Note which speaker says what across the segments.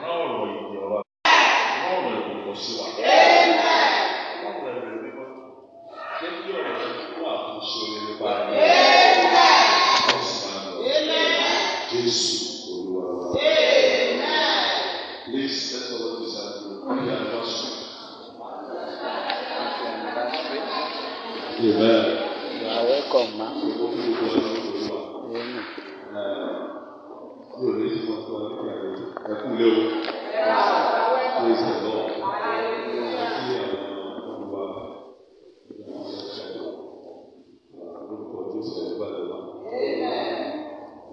Speaker 1: Não, eu vou Não, eu vou consigo. Não, eu vou consigo. Tem que olhar com a pessoa ele para mim. Nossa, Jesus, Olúwa. wa. Please, let's all disciple. Happy anniversary. Amen.
Speaker 2: You are welcome, ma.
Speaker 1: We hope you will enjoy Olúwa.
Speaker 2: Amen.
Speaker 1: Eh, mi ò ní ìfọ̀ fún ọ nígbà yẹn. Ẹ kú lé o. Praise the Lord. Kí àwọn Olúwa, eh, lórúkọ Jésù ẹ gbà lọ́wọ́.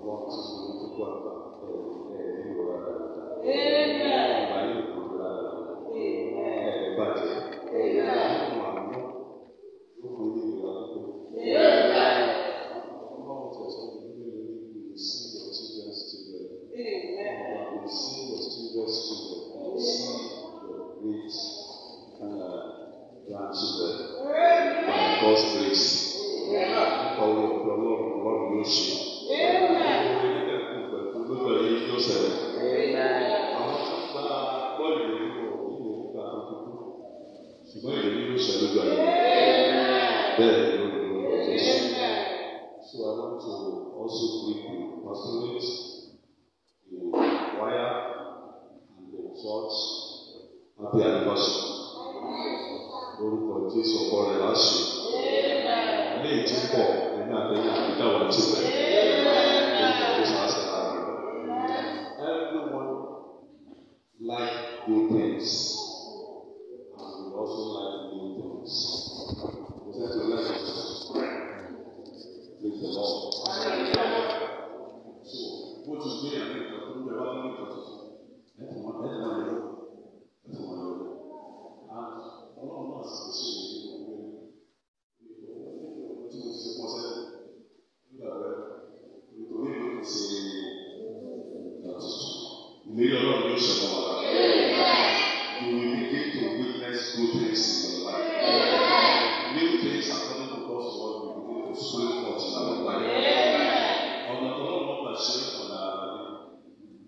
Speaker 1: Wọ́n ti sọ ní kíkó àgbà, eh, eh, ní ìrora dáadáa. Àgbà yìí kò ní ìrora dáadáa. Eh, ẹ bàjẹ́. Fún àánú, fún orí ìrora tó kù.
Speaker 2: Amen.
Speaker 1: ṣùgbọ́n ìrírí ló ṣe lójú ayé bẹ́ẹ̀ ló ń lọ ọjọ́ sí. So I want to also quickly congratulate the choir and the church. Happy anniversary. Lórúkọ Jésù ọkọ rẹ̀ láṣẹ. Ilé ìtí pọ̀ nínú àtẹ̀yìn àbíká wà tí rẹ̀. Lórúkọ Jésù láṣẹ láàrin rẹ̀. Everyone like good things and we also like new things. Mo fẹ́ tó lẹ́yìn. Praise the Lord. So, bó ti gbé àwọn ìgbà tó ń bẹ wá nínú ìgbà tuntun, ẹ tàn wọ́n ẹ tàn wọ́n lọ, ẹ tàn wọ́n lọ. And ọlọ́run náà sì ṣe èyí ní ọgbẹ́ tí mo ti ṣe pọ́n sẹ́yìn nígbà bẹ́ẹ̀. Nítorí ìlú kò ṣe ìgbà tuntun. Ìlérí ọlọ́run yóò ṣe ọmọ wa. You will begin to witness good things in your life. New things are coming to God's word. We begin to spring forth in our life. ọ̀nà tó lọ́wọ́ wọn gbà ṣe ọ̀nà àrà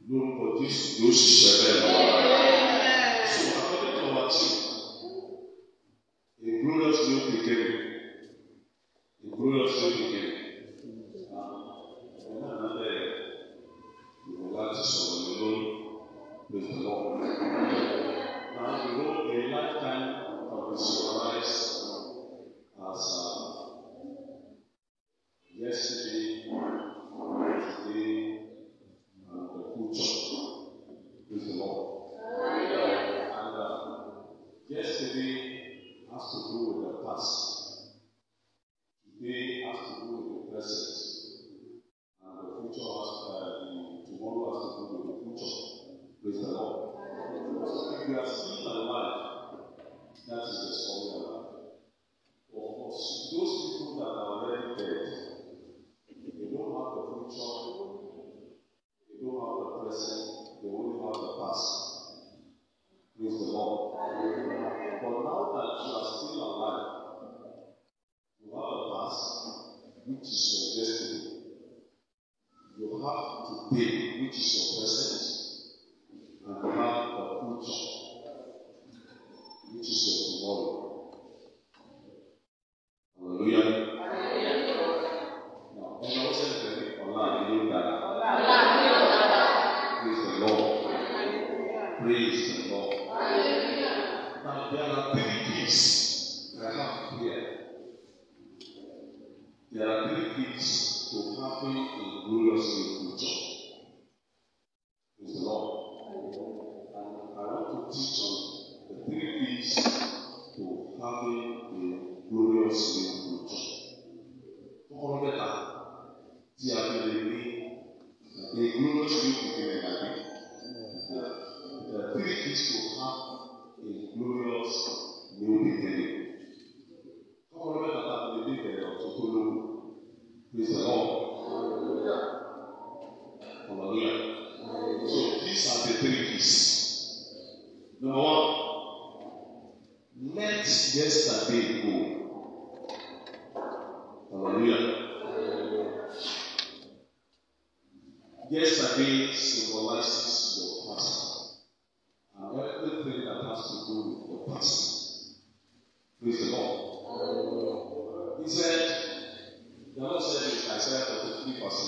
Speaker 1: ni lórúkọ jésù yóò ṣiṣẹ́ bẹ́ẹ̀ lọ́wọ́ rẹ̀. so akọ́kẹ́kọ̀ọ́ wa ti a glorious new beginning a glorious new beginning ẹ̀rọ náà bẹ̀ ìwọ̀n láti sọ̀rọ̀ lé lórí praise the lord. now you know a lifetime of visualize as uh, yesterday. today and the future. Praise the Lord. And uh, yesterday has to do with the past. Today has to do with the present. And the future has uh, the tomorrow has to do with the future. Praise the Lord. So if you are still alive, that is the story of life. But for those people that are already dead, they don't have the future, they don't have the present, they only have the past. Praise the Lord. But now that you are still alive, you have a past, which is your destiny. You have today, which is your present, and you have the future, which is your tomorrow. Hallelujah. Now, ẹ̀rọ sẹ́sẹ̀ ní ọ̀la ìlú dára. Praise the Lord. Praise the Lord. Now there are three keys I have here. There are three keys to having a glorious new future. Praise the Lord. And I want to teach on the three keys to having a glorious new future. Kọ́kọ́rọ́ mẹ́ta tí a fi lè ní a glorious new beginning àbí. The three keys to have a glorious new beginning. Kọ́kọ́rọ́ mẹ́ta tá a fi lè ní ìbẹ̀rẹ̀ ọ̀tún tó lówó. Praise the Lord. Hallelujah. So these are the three keys. Number one, let yesterday go. Hallelujah. Yesterday symbolizes your past. has to do with your past. Praise the Lord. He said, the Lord said in Isaiah 43, verse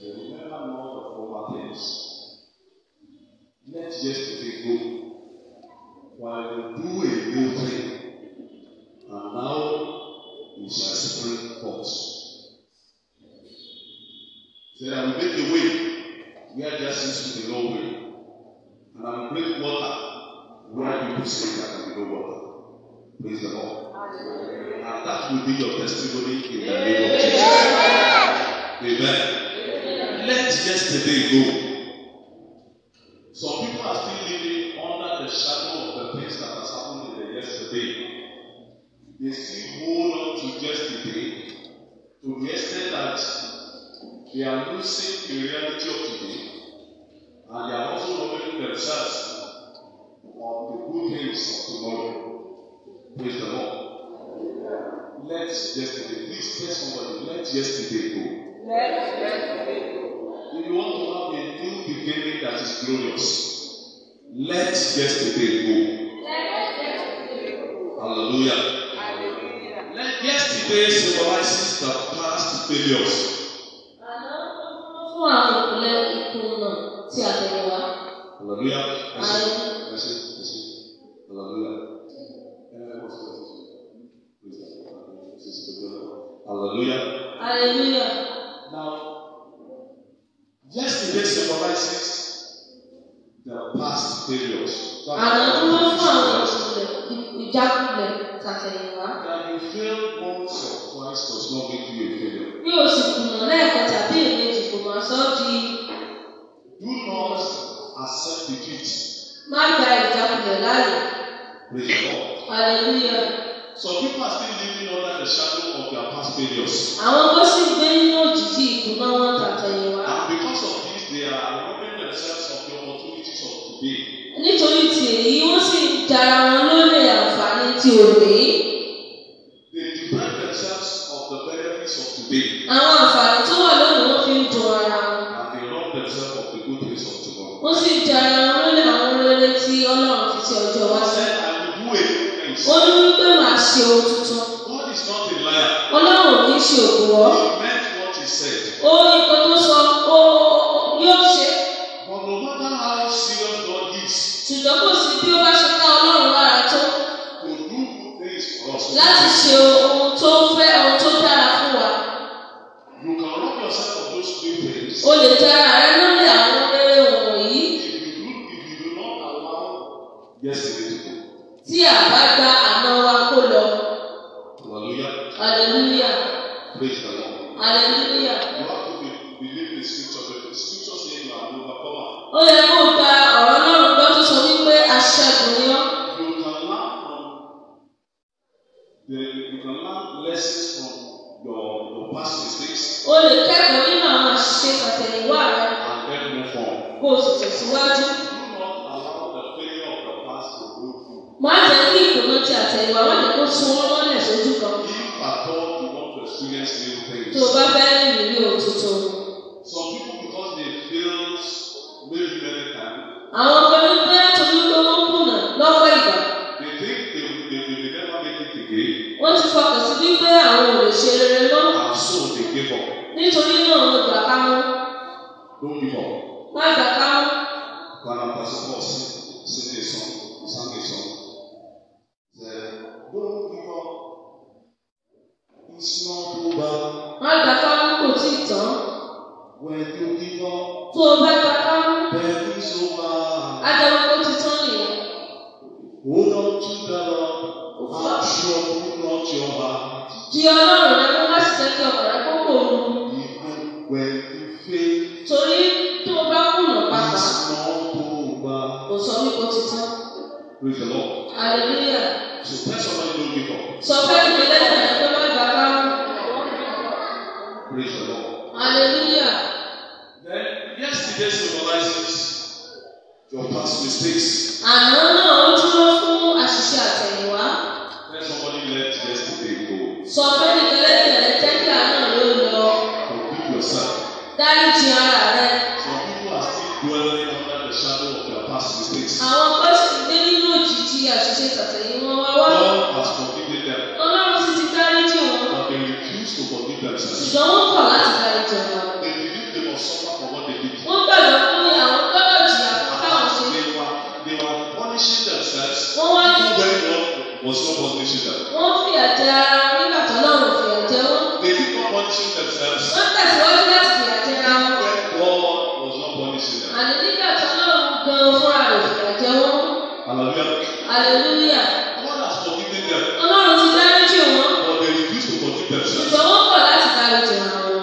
Speaker 1: 18, "Uh, Remember not the former things. Let yesterday go, while you do a new thing, and now it shall spring forth. Say, I will make a way where there seems to be no way, and I will bring water where people say there can be no water. Praise the Lord. And that will be your testimony in the name of Jesus. Amen. Let yesterday go. Some people are still living under the shadow of the things that has happened in the yesterday. They still hold on to yesterday to the extent that they are losing the reality of today and they are also robbing themselves of the good things of tomorrow. Praise the Lord. Let yesterday, please tell somebody, let yesterday go. If you want to have a new beginning that is glorious, let yesterday go. Hallelujah. Let yesterday symbolizes the past failures. Hallelujah. That's it. That's it. That's it. Hallelujah. Eh, what's the what's the- what's the- what's the- Hallelujah. Now, yesterday symbolizes the past failures. That you failed once or twice does not make you a failure. Do not accept defeat. Praise the Lord. Some people are still living under the shadow of their past failures.
Speaker 2: àwọn tó sì gbé nínú òjijì ìkùnà wọn tàtẹ̀yìnwá
Speaker 1: And because of this, they are robbing themselves of the opportunities of today.
Speaker 2: nítorí ti èyí wọn sì ń dara wọn lólè àǹfààní ti òní
Speaker 1: They deprive themselves of the benefits of today
Speaker 2: àwọn àǹfààní tó wà lónìí wọn fi ń dun ara wọn
Speaker 1: and they rob themselves of the good things of tomorrow.
Speaker 2: wọn sì ń dara wọn lólè àwọn rere tí Ọlọ́run fi ti ọjọ́
Speaker 1: God
Speaker 2: wá sí.
Speaker 1: said, I will do a new thing.
Speaker 2: ó ní wípé màá ṣe ohun tuntun
Speaker 1: God is not a liar.
Speaker 2: Ọlọ́run ò ní ṣe òkùrọ
Speaker 1: He meant what he said.
Speaker 2: ó ní kó tó sọ ó yóò ṣe
Speaker 1: But no matter how serious God is
Speaker 2: ṣùgbọ́n kò sí bí ó bá ṣe ká Ọlọ́run lára
Speaker 1: to
Speaker 2: tó
Speaker 1: do good things for us,
Speaker 2: láti ṣe ohun tó fẹ́ ohun tó dára fún wa
Speaker 1: you can rob yourself of those three things
Speaker 2: o lè dara rẹ lólè àwọn rere
Speaker 1: if
Speaker 2: wọ̀nyí
Speaker 1: you do, if you do not allow yesterday to go.
Speaker 2: tí a bá gba àná wa kó lọ.
Speaker 1: Hallelujah.
Speaker 2: Hallelujah.
Speaker 1: Praise the Lord.
Speaker 2: Hallelujah.
Speaker 1: You have to be, believe the scripture. The scripture says you are an overcomer.
Speaker 2: Ó yẹ kó o gba ọ̀rọ̀ Ọlọ́run gbọ́ tó sọ wípé aṣẹ́gun ni ọ́.
Speaker 1: You can learn from the you can learn lessons from your your past mistakes
Speaker 2: O lè kẹ́kọ̀ọ́ nínú àwọn àṣìṣe pàtẹ̀yìnwá rẹ
Speaker 1: and then move on.
Speaker 2: kó o sì
Speaker 1: Do
Speaker 2: tẹ̀síwájú.
Speaker 1: not allow the failure of your past to hold
Speaker 2: Má jẹ́ kí ìkùnà ti àtẹ̀yìnwá má jẹ́ kó sun ọ́ mọ́lẹ̀ sójú kan.
Speaker 1: you. If at all you want to experience new
Speaker 2: Tó o
Speaker 1: things,
Speaker 2: bá fẹ́ rìn ní ohun tuntun.
Speaker 1: some people because they failed maybe many times,
Speaker 2: Àwọn kan ní pé torí pé wọ́n kùnà lọ́pọ̀ ìgbà.
Speaker 1: they think they will they will never make it again,
Speaker 2: Wọ́n ti fọkàn sí wípé àwọn ò lè ṣe rere mọ́.
Speaker 1: and so they give up.
Speaker 2: Nítorí náà mo gbà ká mọ́.
Speaker 1: Don't give up.
Speaker 2: Má gbà ká mọ́.
Speaker 1: When I'm Pastor Paul sing, sing a song, sang a song. Say, don't give up. It's not over.
Speaker 2: Má gbà ká mọ́ kò tí ì tán.
Speaker 1: When you give up,
Speaker 2: Tó o bá gbà ká mọ́.
Speaker 1: then it's over.
Speaker 2: Adáwọ̀ ti tán nìyẹn.
Speaker 1: Hold on to the Lord. I'm sure you not your heart.
Speaker 2: Di Ọlọ́run rẹ kó má sì jẹ́ kí ọkàn rẹ kó kòrò.
Speaker 1: Even when you fail,
Speaker 2: Torí tó o bá kùnà pàpà,
Speaker 1: it's not over.
Speaker 2: kò sọ wípé o ti tán.
Speaker 1: Praise the Lord.
Speaker 2: Hallelujah.
Speaker 1: So tell somebody don't give up.
Speaker 2: Sọ fẹ́ mi lẹ́yìn rẹ pé má gbà ká mọ́.
Speaker 1: Praise the Lord.
Speaker 2: Hallelujah.
Speaker 1: Then yesterday symbolizes your past mistakes.
Speaker 2: Àná náà ó dúró fún àṣìṣe àtẹ̀yìnwá.
Speaker 1: Let somebody let yesterday go.
Speaker 2: Sọ fẹ́ mi lẹ́yìn rẹ jẹ́ kí àná rẹ ó lọ.
Speaker 1: Forgive yourself.
Speaker 2: Dáríji ara rẹ.
Speaker 1: Some people are still dwelling under the shadow of your past mistakes.
Speaker 2: Àwọn kan sì ń gbé nínú òjìji àṣìṣe tàtẹ̀yìn wọn wá wá.
Speaker 1: God has forgiven them,
Speaker 2: Ọlọ́run sì ti dáríjì wọn.
Speaker 1: but they refuse to forgive themselves.
Speaker 2: Ṣùgbọ́n wọ́n kọ̀ láti dáríjì ọ̀la wọn.
Speaker 1: They believe they must suffer for what they did.
Speaker 2: Wọ́n gbàgbọ́ pé àwọn gbọ́dọ̀ jìyà fún táwọn ṣe.
Speaker 1: They were, they were punishing themselves.
Speaker 2: Wọ́n wá ní
Speaker 1: Even when God was not punishing them.
Speaker 2: wọ́n fìyà jẹ ara wọn nígbà tó lọ́run fìyà jẹ wọ́n.
Speaker 1: They did not punish themselves.
Speaker 2: Wọ́n tẹ̀síwájú láti fìyà jẹ ara
Speaker 1: When
Speaker 2: wọn.
Speaker 1: God was not punishing them.
Speaker 2: Àní nígbà tó lọ́run gan fúnra rẹ̀ fìyà jẹ wọ́n.
Speaker 1: Hallelujah.
Speaker 2: Hallelujah.
Speaker 1: God has forgiven them,
Speaker 2: Ọlọ́run ti dáríjì wọn.
Speaker 1: but they refused to forgive themselves.
Speaker 2: Ṣùgbọ́n wọ́n kọ̀ láti dáríjì ara wọn.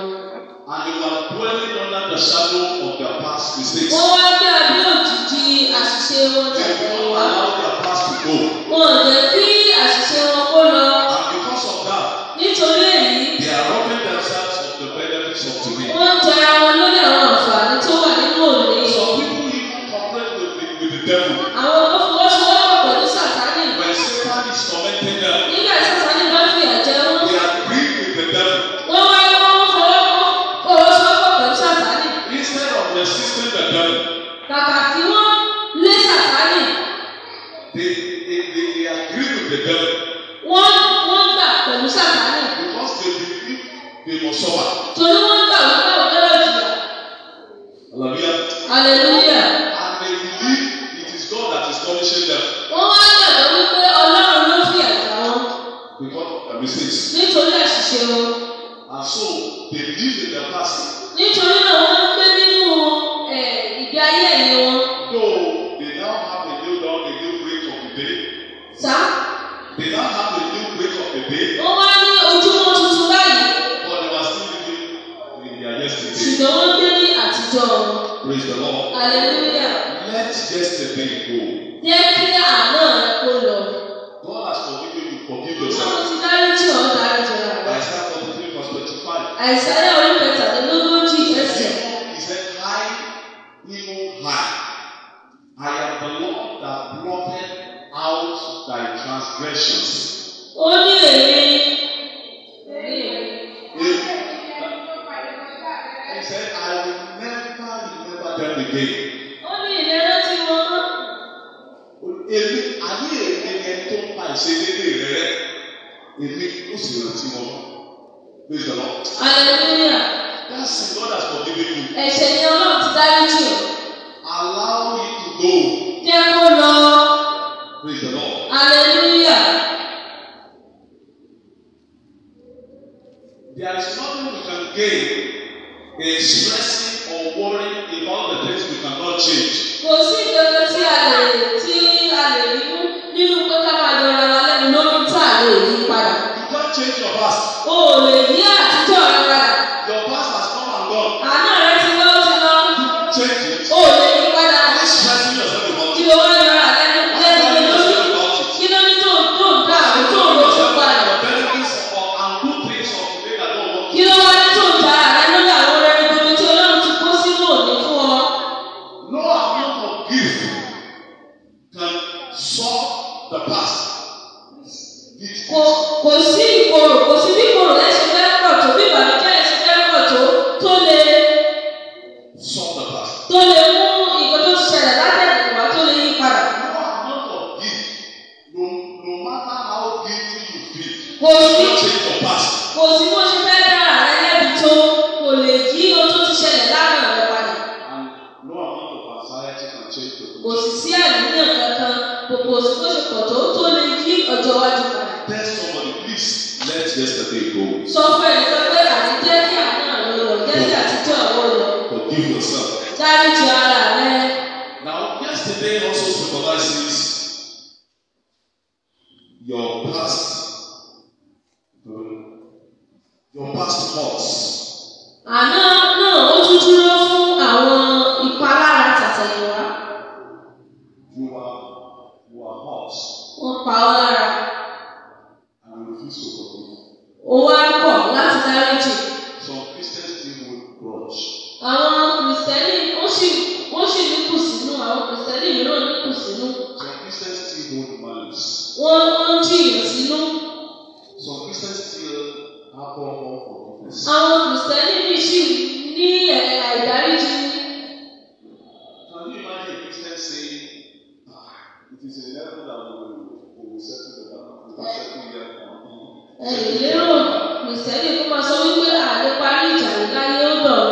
Speaker 1: And they were dwelling under the shadow of their past mistakes.
Speaker 2: Wọ́n wá gbé abẹ́ òjìji àṣìṣe wọn
Speaker 1: They did
Speaker 2: tàtẹ̀yìn
Speaker 1: not
Speaker 2: wá.
Speaker 1: allow their past to go.
Speaker 2: Wọn ò jẹ́ kí àṣìṣe wọn kó lọ.
Speaker 1: And because of that,
Speaker 2: Nítorí èyí,
Speaker 1: they are robbing themselves of the benefits of today.
Speaker 2: wọ́n ń jẹra wọn lórí àwọn àǹfààní tó wà nínú òní.
Speaker 1: Some people even complain with the, with the devil.
Speaker 2: Àwọn tó fọwọ́sowọ́pọ̀ pẹ̀lú Sàtánì.
Speaker 1: When Satan is tormenting them,
Speaker 2: Nígbà tí Sàtánì bá fìyà jẹ wọ́n,
Speaker 1: they agree with the devil.
Speaker 2: wọ́n wáyé wọ́n ń fọwọ́ fọwọ́sowọ́pọ̀ pẹ̀lú Sàtánì.
Speaker 1: Instead of resisting the devil,
Speaker 2: Kàkà kí wọ́n lé Sàtánì,
Speaker 1: they, they, they, they agree with the devil
Speaker 2: wọ́n wọ́n gbà pẹ̀lú Sàtánì.
Speaker 1: because they believe they must suffer.
Speaker 2: Torí wọ́n gbà wọ́n gbà wọ́n lọ́rọ̀ jùlọ.
Speaker 1: Hallelujah.
Speaker 2: Hallelujah.
Speaker 1: And they believe it is God that is punishing them
Speaker 2: Wọ́n wá gbàgbọ́ wípé Ọlọ́run ló fìyà jẹ wọ́n
Speaker 1: because of their mistakes.
Speaker 2: nítorí àṣìṣe wọn.
Speaker 1: And so they live in their past.
Speaker 2: Nítorí náà wọ́n ń gbé nínú ẹ̀, ìgbé ayé ẹ̀yìn wọn.
Speaker 1: Though they now have a new dawn, a new break of the day.
Speaker 2: Sá,
Speaker 1: They now have a new break of the day,
Speaker 2: wọ́n wá ní ojúmọ́ tuntun báyìí.
Speaker 1: but they were still living in their yesterday.
Speaker 2: Ṣùgbọ́n wọ́n gbé ní àtijọ́ wọn.
Speaker 1: Praise the Lord.
Speaker 2: Aleluya.
Speaker 1: Let yesterday
Speaker 2: Jẹ́ kí àná rẹ kó lọ.
Speaker 1: go. God has forgiven you. Forgive
Speaker 2: Wọ́n
Speaker 1: yourself.
Speaker 2: ti dáríjì ọ́ dáríjì ara rẹ.
Speaker 1: Isaiah 43 verse 25.
Speaker 2: Àìsáyà orí kẹtàlélógójì ẹsẹ̀.
Speaker 1: He said, High, even high. I am the Lord that blotted out thy transgressions.
Speaker 2: Ó ní èmi. Èmi èmi.
Speaker 1: He said, I will never remember them again.
Speaker 2: Ó ní ìlera tí wọ́n mọ́.
Speaker 1: èmi àní èmi ẹni tó ń pa ìṣedéédé rẹ rẹ èmi ó sì rántí wọn praise the lord
Speaker 2: Aleluya.
Speaker 1: that sin God has forgiven you
Speaker 2: Ẹ̀ṣẹ̀ ni Ọlọ́run ti dáríjì ọ́.
Speaker 1: allow it to go
Speaker 2: Jẹ́ kó lọ.
Speaker 1: praise the lord
Speaker 2: Aleluya.
Speaker 1: there is nothing we can gain in stressing or worrying about the things we cannot change
Speaker 2: Kò sí ìjọba tí a lè tí a lè rí mú nínú pé ká máa yọra wa lẹ́nu lórí tí a lè yí padà.
Speaker 1: you can't change your past
Speaker 2: O ò lè yí àtijọ́ rẹ padà.
Speaker 1: your past has come and gone
Speaker 2: Àná rẹ ti lọ ti lọ.
Speaker 1: change it
Speaker 2: O ò lè yí padà.
Speaker 1: why stressing yourself about
Speaker 2: Kí
Speaker 1: it
Speaker 2: ló wá yọra lẹ́nu
Speaker 1: why
Speaker 2: lẹ́nu
Speaker 1: worrying
Speaker 2: lórí?
Speaker 1: yourself about it
Speaker 2: Kí ló ní tó tó ń dá àwọn tó ń lọ sí padà? Kí ló wá ní tó ń dá àrẹ lórí àwọn rere gbogbo tí Ọlọ́run ti kó sínú òní fún ọ? Kò kò sí ìkorò kò sí bí ìkorò ẹ̀ ṣe fẹ́ pọ̀ tó bí ìbànújẹ́ ẹ̀ ṣe fẹ́ pọ̀ tó tó lè tó lè mú ìgbà tó ti ṣẹlẹ̀ látẹ̀lẹ̀ wá tó lè yí padà. Kò sí kò sí bó ṣe fẹ́ dá àrẹ lẹ́bi tó kò lè yí ohun tó ti ṣẹlẹ̀ lánàá rẹ padà. kò sì sí àníyàn kankan gbogbo òsì tó ṣe pọ̀ tó tó lè yí ọjọ́ iwájú padà.
Speaker 1: Yesterday go.
Speaker 2: sọ fún ẹnìkan pé àti jẹ́kí àná rẹ lọ jẹ́kí àtijọ́ àwọn lọ
Speaker 1: Forgive yourself.
Speaker 2: dáríjì ara rẹ.
Speaker 1: Now, yesterday also symbolizes your past, um, your past faults.
Speaker 2: àná náà ó tún dúró fún àwọn ìpalára tàtẹ̀yìnwá
Speaker 1: You are you are hurt
Speaker 2: wọ́n pa ọ́ lára
Speaker 1: and you refuse to forgive.
Speaker 2: ó wá kọ̀ láti dáríjì.
Speaker 1: Some Christians still hold grudge.
Speaker 2: àwọn kìrìsìtẹ́nì ó sì ó sì níkù sínú àwọn kìrìsìtẹ́nì mìíràn níkù sínú
Speaker 1: Some Christians still hold malice.
Speaker 2: wọ́n wọ́n jìyàn sínú.
Speaker 1: Some Christians still have all forgiveness.
Speaker 2: àwọn kìrìsìtẹ́nì mi sì ní ẹ̀ àìdáríjì
Speaker 1: Can you imagine imagine a Christian saying, ah, it is in heaven that we will, we will settle the matter. We will settle here now.
Speaker 2: ẹ lè lérò kìrìsìtẹ́nì kó máa sọ wípé àlè parí ìjà yìí láyé ó dọ̀rọ̀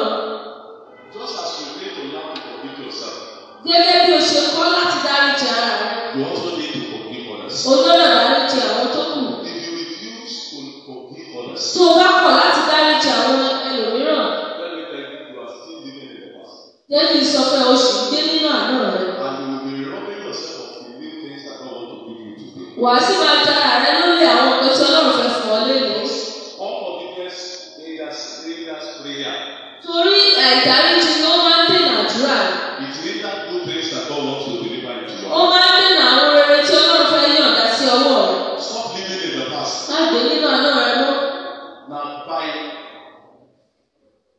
Speaker 1: Just as you need to learn to forgive yourself,
Speaker 2: gẹ́gẹ́ bí o ṣe kọ́ láti dáríji ara rẹ
Speaker 1: you also need to forgive others.
Speaker 2: o gbọ́dọ̀ dáríji àwọn tó kù
Speaker 1: If you refuse to forgive others,
Speaker 2: tó o bá kọ̀ láti dáríji àwọn ẹlòmíràn
Speaker 1: let me tell you, you are still living in the past.
Speaker 2: débi sọ pé o sì ń gbé nínú àánú rẹ
Speaker 1: And you will be robbing yourself of the new things that God want to give you today.
Speaker 2: wà á sì máa ja ara rẹ lórí àwọn nǹkan tí ọlọ́run fẹ́ fún ọ lélẹ̀
Speaker 1: Unforgiveness hinders, hinders prayer.
Speaker 2: torí àìdáríji ni ó máa ń dènà àdúrà
Speaker 1: It hinders good things that God wants to deliver into your
Speaker 2: ó
Speaker 1: life.
Speaker 2: máa ń dènà àwọn rere tí ọlọ́run fẹ́ yọ̀ǹda sí ọwọ́ rẹ
Speaker 1: Stop living in the past.
Speaker 2: má gbé nínú àánú rẹ mọ́
Speaker 1: Now, by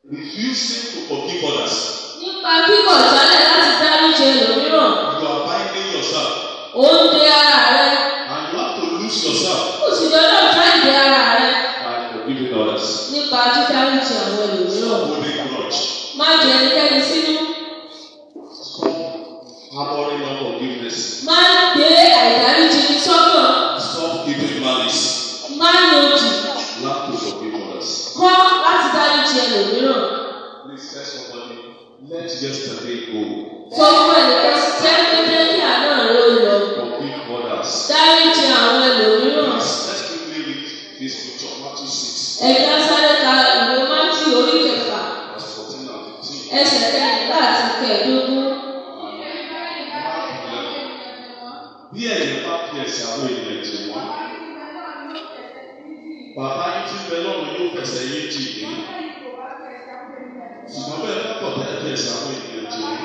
Speaker 1: refusing to forgive others,
Speaker 2: nípa kíkọ̀ jálẹ̀ láti dáríji ẹlòmíràn
Speaker 1: you are binding yourself
Speaker 2: ó ń de ara rẹ
Speaker 1: and you have to lose yourself
Speaker 2: ó sì gbọ́dọ̀ já ìdè ara rẹ
Speaker 1: by forgiving others.
Speaker 2: nípa dídáríji àwọn ẹlòmíràn.
Speaker 1: Stop holding grudge.
Speaker 2: Má jẹ ẹnikẹ́ni sínú.
Speaker 1: Stop harboring unforgiveness.
Speaker 2: Má gbé àìdáríji ní sọ́kàn.
Speaker 1: Stop keeping malice.
Speaker 2: Má ní ojì.
Speaker 1: Learn to forgive others.
Speaker 2: Kọ́ láti dáríji ẹlòmíràn.
Speaker 1: Please tell somebody, let yesterday go.
Speaker 2: Sọ fún ẹnìkan sí tẹ́lifíṣẹ́ kí àná rẹ ó lọ.
Speaker 1: Forgive others.
Speaker 2: Dáríji àwọn ẹlòmíràn.
Speaker 1: Let's quickly read this scripture, Matthew 6,
Speaker 2: Ẹ̀ka sáré ka ìwé Mátì orí kẹfà.
Speaker 1: verse 14 and 15.
Speaker 2: Ẹsẹ̀ kẹrìnlá àti kẹẹ̀dógún.
Speaker 1: Bí ẹ̀yin bá fi ẹ̀sìn àwọn ènìyàn jì wọ́n, bàbá yín ti bẹ lọ́run yóò fẹsẹ̀ yín jì yín. Ṣùgbọ́n bẹ́ẹ̀ bá pọ̀ bẹ́ẹ̀ fi ẹ̀sìn àwọn ènìyàn jì wọ́n.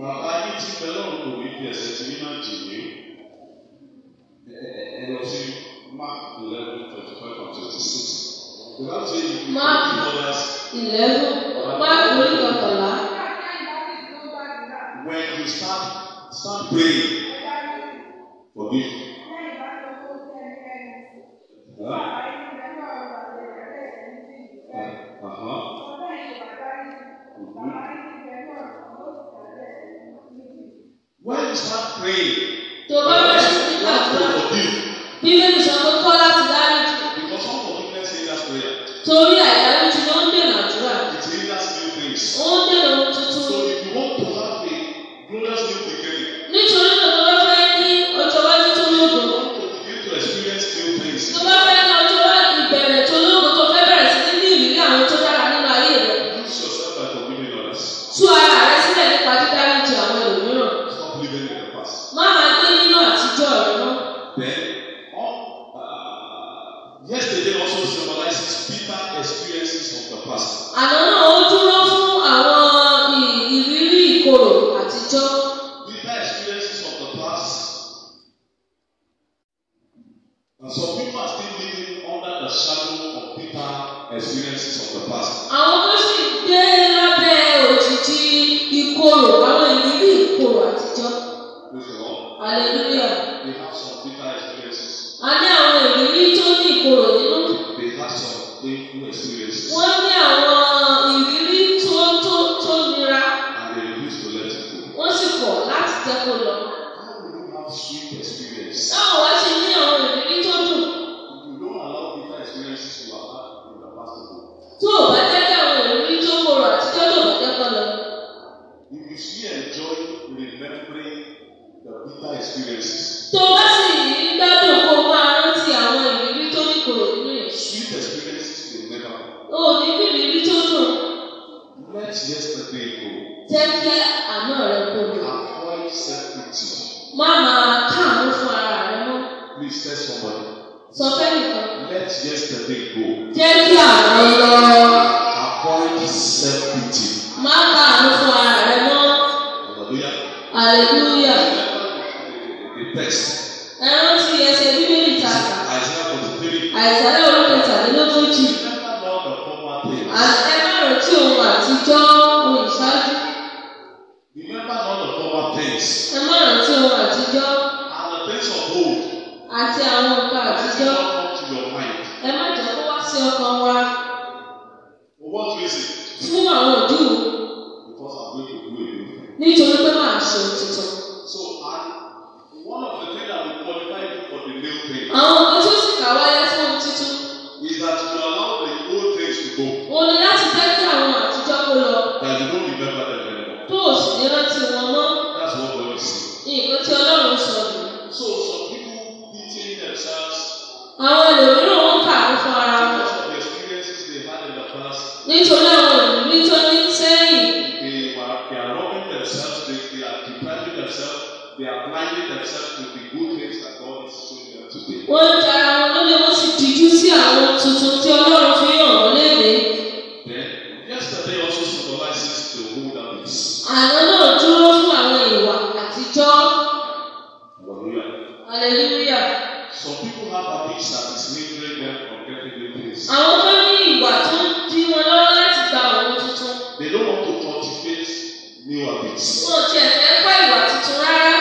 Speaker 1: Bàbá yín ti bẹ lọ́run kò ní fi ẹ̀sẹ̀ tí yín náà jì yín. Ẹ- ẹ- Ẹ lọ sí Mark eleven twenty five and twenty six. The Bible says you can
Speaker 2: Mark.
Speaker 1: forgive others
Speaker 2: Ìlẹ́gùn. Má orí kọkànlá.
Speaker 1: when you start start praying. Forgive. Huh? Uh-huh. When you start praying,
Speaker 2: Tó bá bẹ̀rẹ̀ sí ní gbàdúrà.
Speaker 1: forgive.
Speaker 2: Bíbélì sọ pé kọ́ láti dáríji.
Speaker 1: Because unforgiveness hinders prayer.
Speaker 2: Torí àìdáríji ló ń dènà àdúrà.
Speaker 1: It hinders new things.
Speaker 2: Ó ń dènà ohun tuntun.
Speaker 1: So if you want to have a glorious new beginning,
Speaker 2: Nítorí náà tó bá fẹ́ ní ọjọ́ iwájú tó
Speaker 1: you
Speaker 2: lógo.
Speaker 1: want to begin to experience new
Speaker 2: Tó
Speaker 1: things,
Speaker 2: bá fẹ́ ní ọjọ́ iwájú ìbẹ̀rẹ̀ tó lógo tó fẹ́ bẹ̀rẹ̀ sí ní ní ìrírí àwọn tó dára nínú ayé rẹ̀.
Speaker 1: lose yourself by forgiving others.
Speaker 2: Tú ara rẹ sílẹ̀ nípa dídáríji àwọn ẹlòmíràn.
Speaker 1: Stop living in the past.
Speaker 2: Má máa gbé nínú àtijọ́ rẹ mọ́.
Speaker 1: Then, all, uh, yesterday also symbolizes bitter experiences of the past.
Speaker 2: Àná náà ó dúró fún àwọn ì- ìrírí ìkorò àtijọ́.
Speaker 1: Bitter experiences of the past. And some people are still living under the shadow of bitter experiences of the past.
Speaker 2: Àwọn tó sì gbé lábẹ́ òjìji ìkorò, àwọn ìrírí ìkorò àtijọ́.
Speaker 1: Praise the Lord.
Speaker 2: Hallelujah.
Speaker 1: They have some bitter experiences.
Speaker 2: A ní àwọn ìrírí tó ní ìkorò nínú.
Speaker 1: They have some painful experiences.
Speaker 2: Wọ́n ní àwọn ìrírí tó tó tó nira.
Speaker 1: And they refuse to let it
Speaker 2: Wọ́n sì kọ̀ láti tẹ́kọ̀
Speaker 1: go.
Speaker 2: lọ.
Speaker 1: How will you have sweet experience
Speaker 2: Táwọn wá ṣe ní àwọn ìrírí tó dùn.
Speaker 1: if you don't allow bitter experiences you have had in the past to go?
Speaker 2: Tó o bá jẹ́ kí àwọn ìrírí tó korò àtijọ́ tó bá tẹ́kọ̀ lọ.
Speaker 1: If you still enjoy remembering the bitter experiences,
Speaker 2: Tó o bá sì ń gbádùn kó o máa rántí àwọn ìrírí tó ní korò nínú yẹn.
Speaker 1: sweet experiences will never come.
Speaker 2: O ò ní ní ìrírí tó dùn.
Speaker 1: Let yesterday
Speaker 2: Jẹ́ kí àná rẹ kó
Speaker 1: go.
Speaker 2: lọ.
Speaker 1: Avoid self-pity.
Speaker 2: Má máa káàánú fún ara rẹ mọ́.
Speaker 1: Please tell somebody.
Speaker 2: Sọ fẹ́ nìkan.
Speaker 1: Let yesterday go.
Speaker 2: Jẹ́ kí àná lọ.
Speaker 1: Avoid self-pity.
Speaker 2: Má káàánú fún ara rẹ mọ́.
Speaker 1: Hallelujah.
Speaker 2: Hallelujah.
Speaker 1: The text.
Speaker 2: ẹran ti ẹsẹ̀ bíbélì tààtà
Speaker 1: Isaiah 43.
Speaker 2: àìsàn ẹ̀rọ kẹtàlélógójì
Speaker 1: Remember now the former things.
Speaker 2: àti ẹgbẹ̀rún tí òun àtijọ́ ohun ìṣáájú
Speaker 1: Remember now the former things.
Speaker 2: ẹgbẹ̀rún tí òun àtijọ́
Speaker 1: And the things of old.
Speaker 2: àti àwọn nǹkan
Speaker 1: Let it
Speaker 2: àtijọ́
Speaker 1: not come to your mind.
Speaker 2: ẹ má jẹ́ kó wá sí ọkàn wa
Speaker 1: For what reason?
Speaker 2: fún àwọn òdù
Speaker 1: Because I'm going to do away
Speaker 2: nítorí pé màá ṣe ohun tuntun.
Speaker 1: So, and one of the things that will qualify you for the new thing
Speaker 2: Àwọn nǹkan tí ó sì kà wáyé fún ohun tuntun.
Speaker 1: is that you allow the old things to go,
Speaker 2: Òun ni láti jẹ́ kí àwọn àtijọ́ kó lọ.
Speaker 1: that you don't remember them anymore.
Speaker 2: Tó o sì ní rántí wọn mọ́.
Speaker 1: That's what God is saying.
Speaker 2: Nǹkan tí Ọlọ́run sọ nìyí.
Speaker 1: So, some people beating themselves
Speaker 2: Àwọn ẹlòmíràn wọ́n kà á fún ara wọn.
Speaker 1: because of the experiences they had in the past.
Speaker 2: Nítorí àwọn ìrírí tó ní sẹ́yìn.
Speaker 1: They, were, they are robbing themselves, they, they are depriving themselves, they are blinding themselves to the good things that God is showing them today.
Speaker 2: Wọ́n ń tara wọn lólè wọ́n sì díjú sí àwọn tuntun tí Ọlọ́run fi hàn wọ́n léde.
Speaker 1: Then, yesterday also symbolizes the old habits.
Speaker 2: Àná náà dúró fún àwọn ìwà àtijọ́.
Speaker 1: Hallelujah.
Speaker 2: Hallelujah.
Speaker 1: Some people have habits that is hindering them from getting new things.
Speaker 2: Àwọn tó ní ìwà tó ń dí wọn lọ́wọ́ láti gba àwọn tuntun.
Speaker 1: They don't want to cultivate new habits.
Speaker 2: Wọ́n tiẹ̀ fẹ́ kọ́ ìwà tuntun rárá.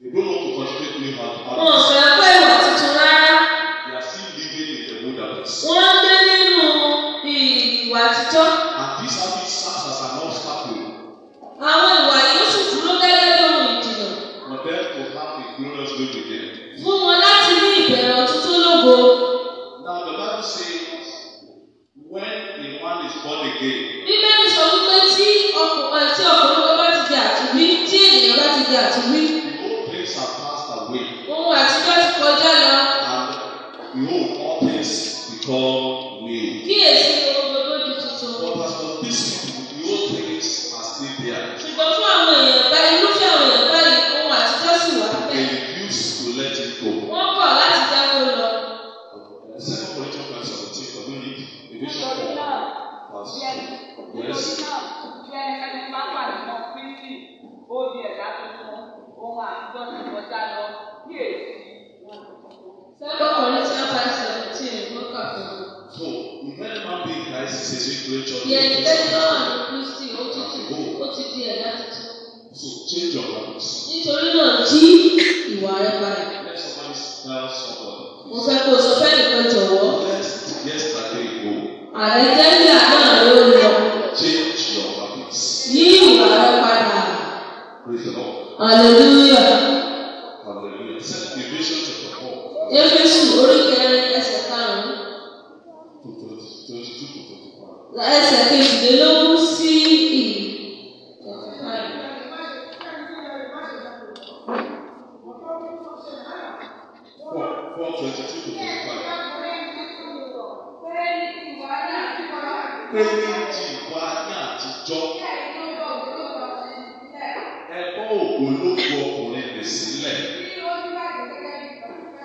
Speaker 1: They don't want to cultivate new hab-
Speaker 2: Wọ́n
Speaker 1: habits.
Speaker 2: fẹ́ kọ́ ìwà tuntun rárá.
Speaker 1: They are still living in the old habits.
Speaker 2: Wọ́n ń gbé nínú ìwà àtijọ́.
Speaker 1: And this habit serves as an obstacle
Speaker 2: Àwọn ìwà yìí ó sì dúró gẹ́gẹ́ bí ohun ìdìbò.
Speaker 1: for them to have a glorious life again.
Speaker 2: Fún wọn láti ní ìbẹ̀rẹ̀ ọ̀tun tó lógo.
Speaker 1: Now the Bible says, when a man is born again,
Speaker 2: Bíbélì sọ wípé tí ọkùnrin tí ọkùnrin kan bá ti di àtúnbí, tí ènìyàn bá ti di àtúnbí,
Speaker 1: the old things are passed away,
Speaker 2: ohun àtijọ́ ti kọjá lọ.
Speaker 1: and behold, all things become new.
Speaker 2: Kíyèsí ohun gbogbo di tuntun.
Speaker 1: But as for these people, the old things are still there.
Speaker 2: Ṣùgbọ́n fún àwọn èèyàn báyìí, irúfẹ́ àwọn èèyàn báyìí, ohun àtijọ́ sì wà
Speaker 1: They
Speaker 2: bẹ́ẹ̀.
Speaker 1: refuse to let it go.
Speaker 2: Wọ́n kọ̀ láti dáwó lọ.
Speaker 1: Second Corinthians verse seventeen, I don't need Ephesians four verse
Speaker 3: Nítorí náà, bí ẹni- nítorí
Speaker 1: yes.
Speaker 3: náà, bí ẹnikẹ́ni bá wà nínú Kristi, ó di ẹ̀dá tuntun, ohun àtijọ́ ti kọjá lọ, kí èsì ohun tuntun.
Speaker 2: Second Corinthians five seventeen ló kà fún mi.
Speaker 1: So if any man be in Christ, he is a new creature.
Speaker 2: Di ẹni tẹ́tí náà ní Kristi ó ti
Speaker 1: Àsìkò.
Speaker 2: ó ti di ẹ̀dá tuntun.
Speaker 1: So change your habits.
Speaker 2: Nítorí náà jí ìwà rẹ padà.
Speaker 1: Let somebody tell somebody.
Speaker 2: Mo fẹ́ kó o sọ fẹ́ nìkan jọ̀wọ́.
Speaker 1: Let yesterday go.
Speaker 2: Ààrẹ tẹ́lẹ̀ náà ló lọ.
Speaker 1: Change your habits.
Speaker 2: Yí ìwà rẹ padà.
Speaker 1: Praise the Lord.
Speaker 2: Hallelujah.
Speaker 1: Hallelujah. Second Ephesians chapter four,
Speaker 2: Éfésù orí kẹrin ẹsẹ̀ karùn-ún.
Speaker 1: to twenty- twenty-two to twenty-five.
Speaker 2: Ẹsẹ̀ kejìlélógún sí ì.
Speaker 1: Four, four twenty-two to twenty-five. Pé ní ti wá ní àtijọ́. ẹ̀kọ́ ògbólógbò ọkùnrin rẹ̀ sílẹ̀